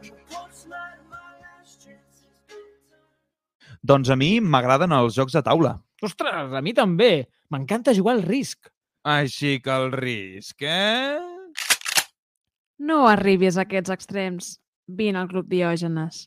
Speaker 5: When the boat's light of my last chance is done.
Speaker 6: Doncs a mi m'agraden els jocs de taula.
Speaker 1: Ostres, a mi també. M'encanta jugar al risc.
Speaker 6: Així que el risc, eh?
Speaker 7: No arribis a aquests extrems. Vine al Club Diògenes.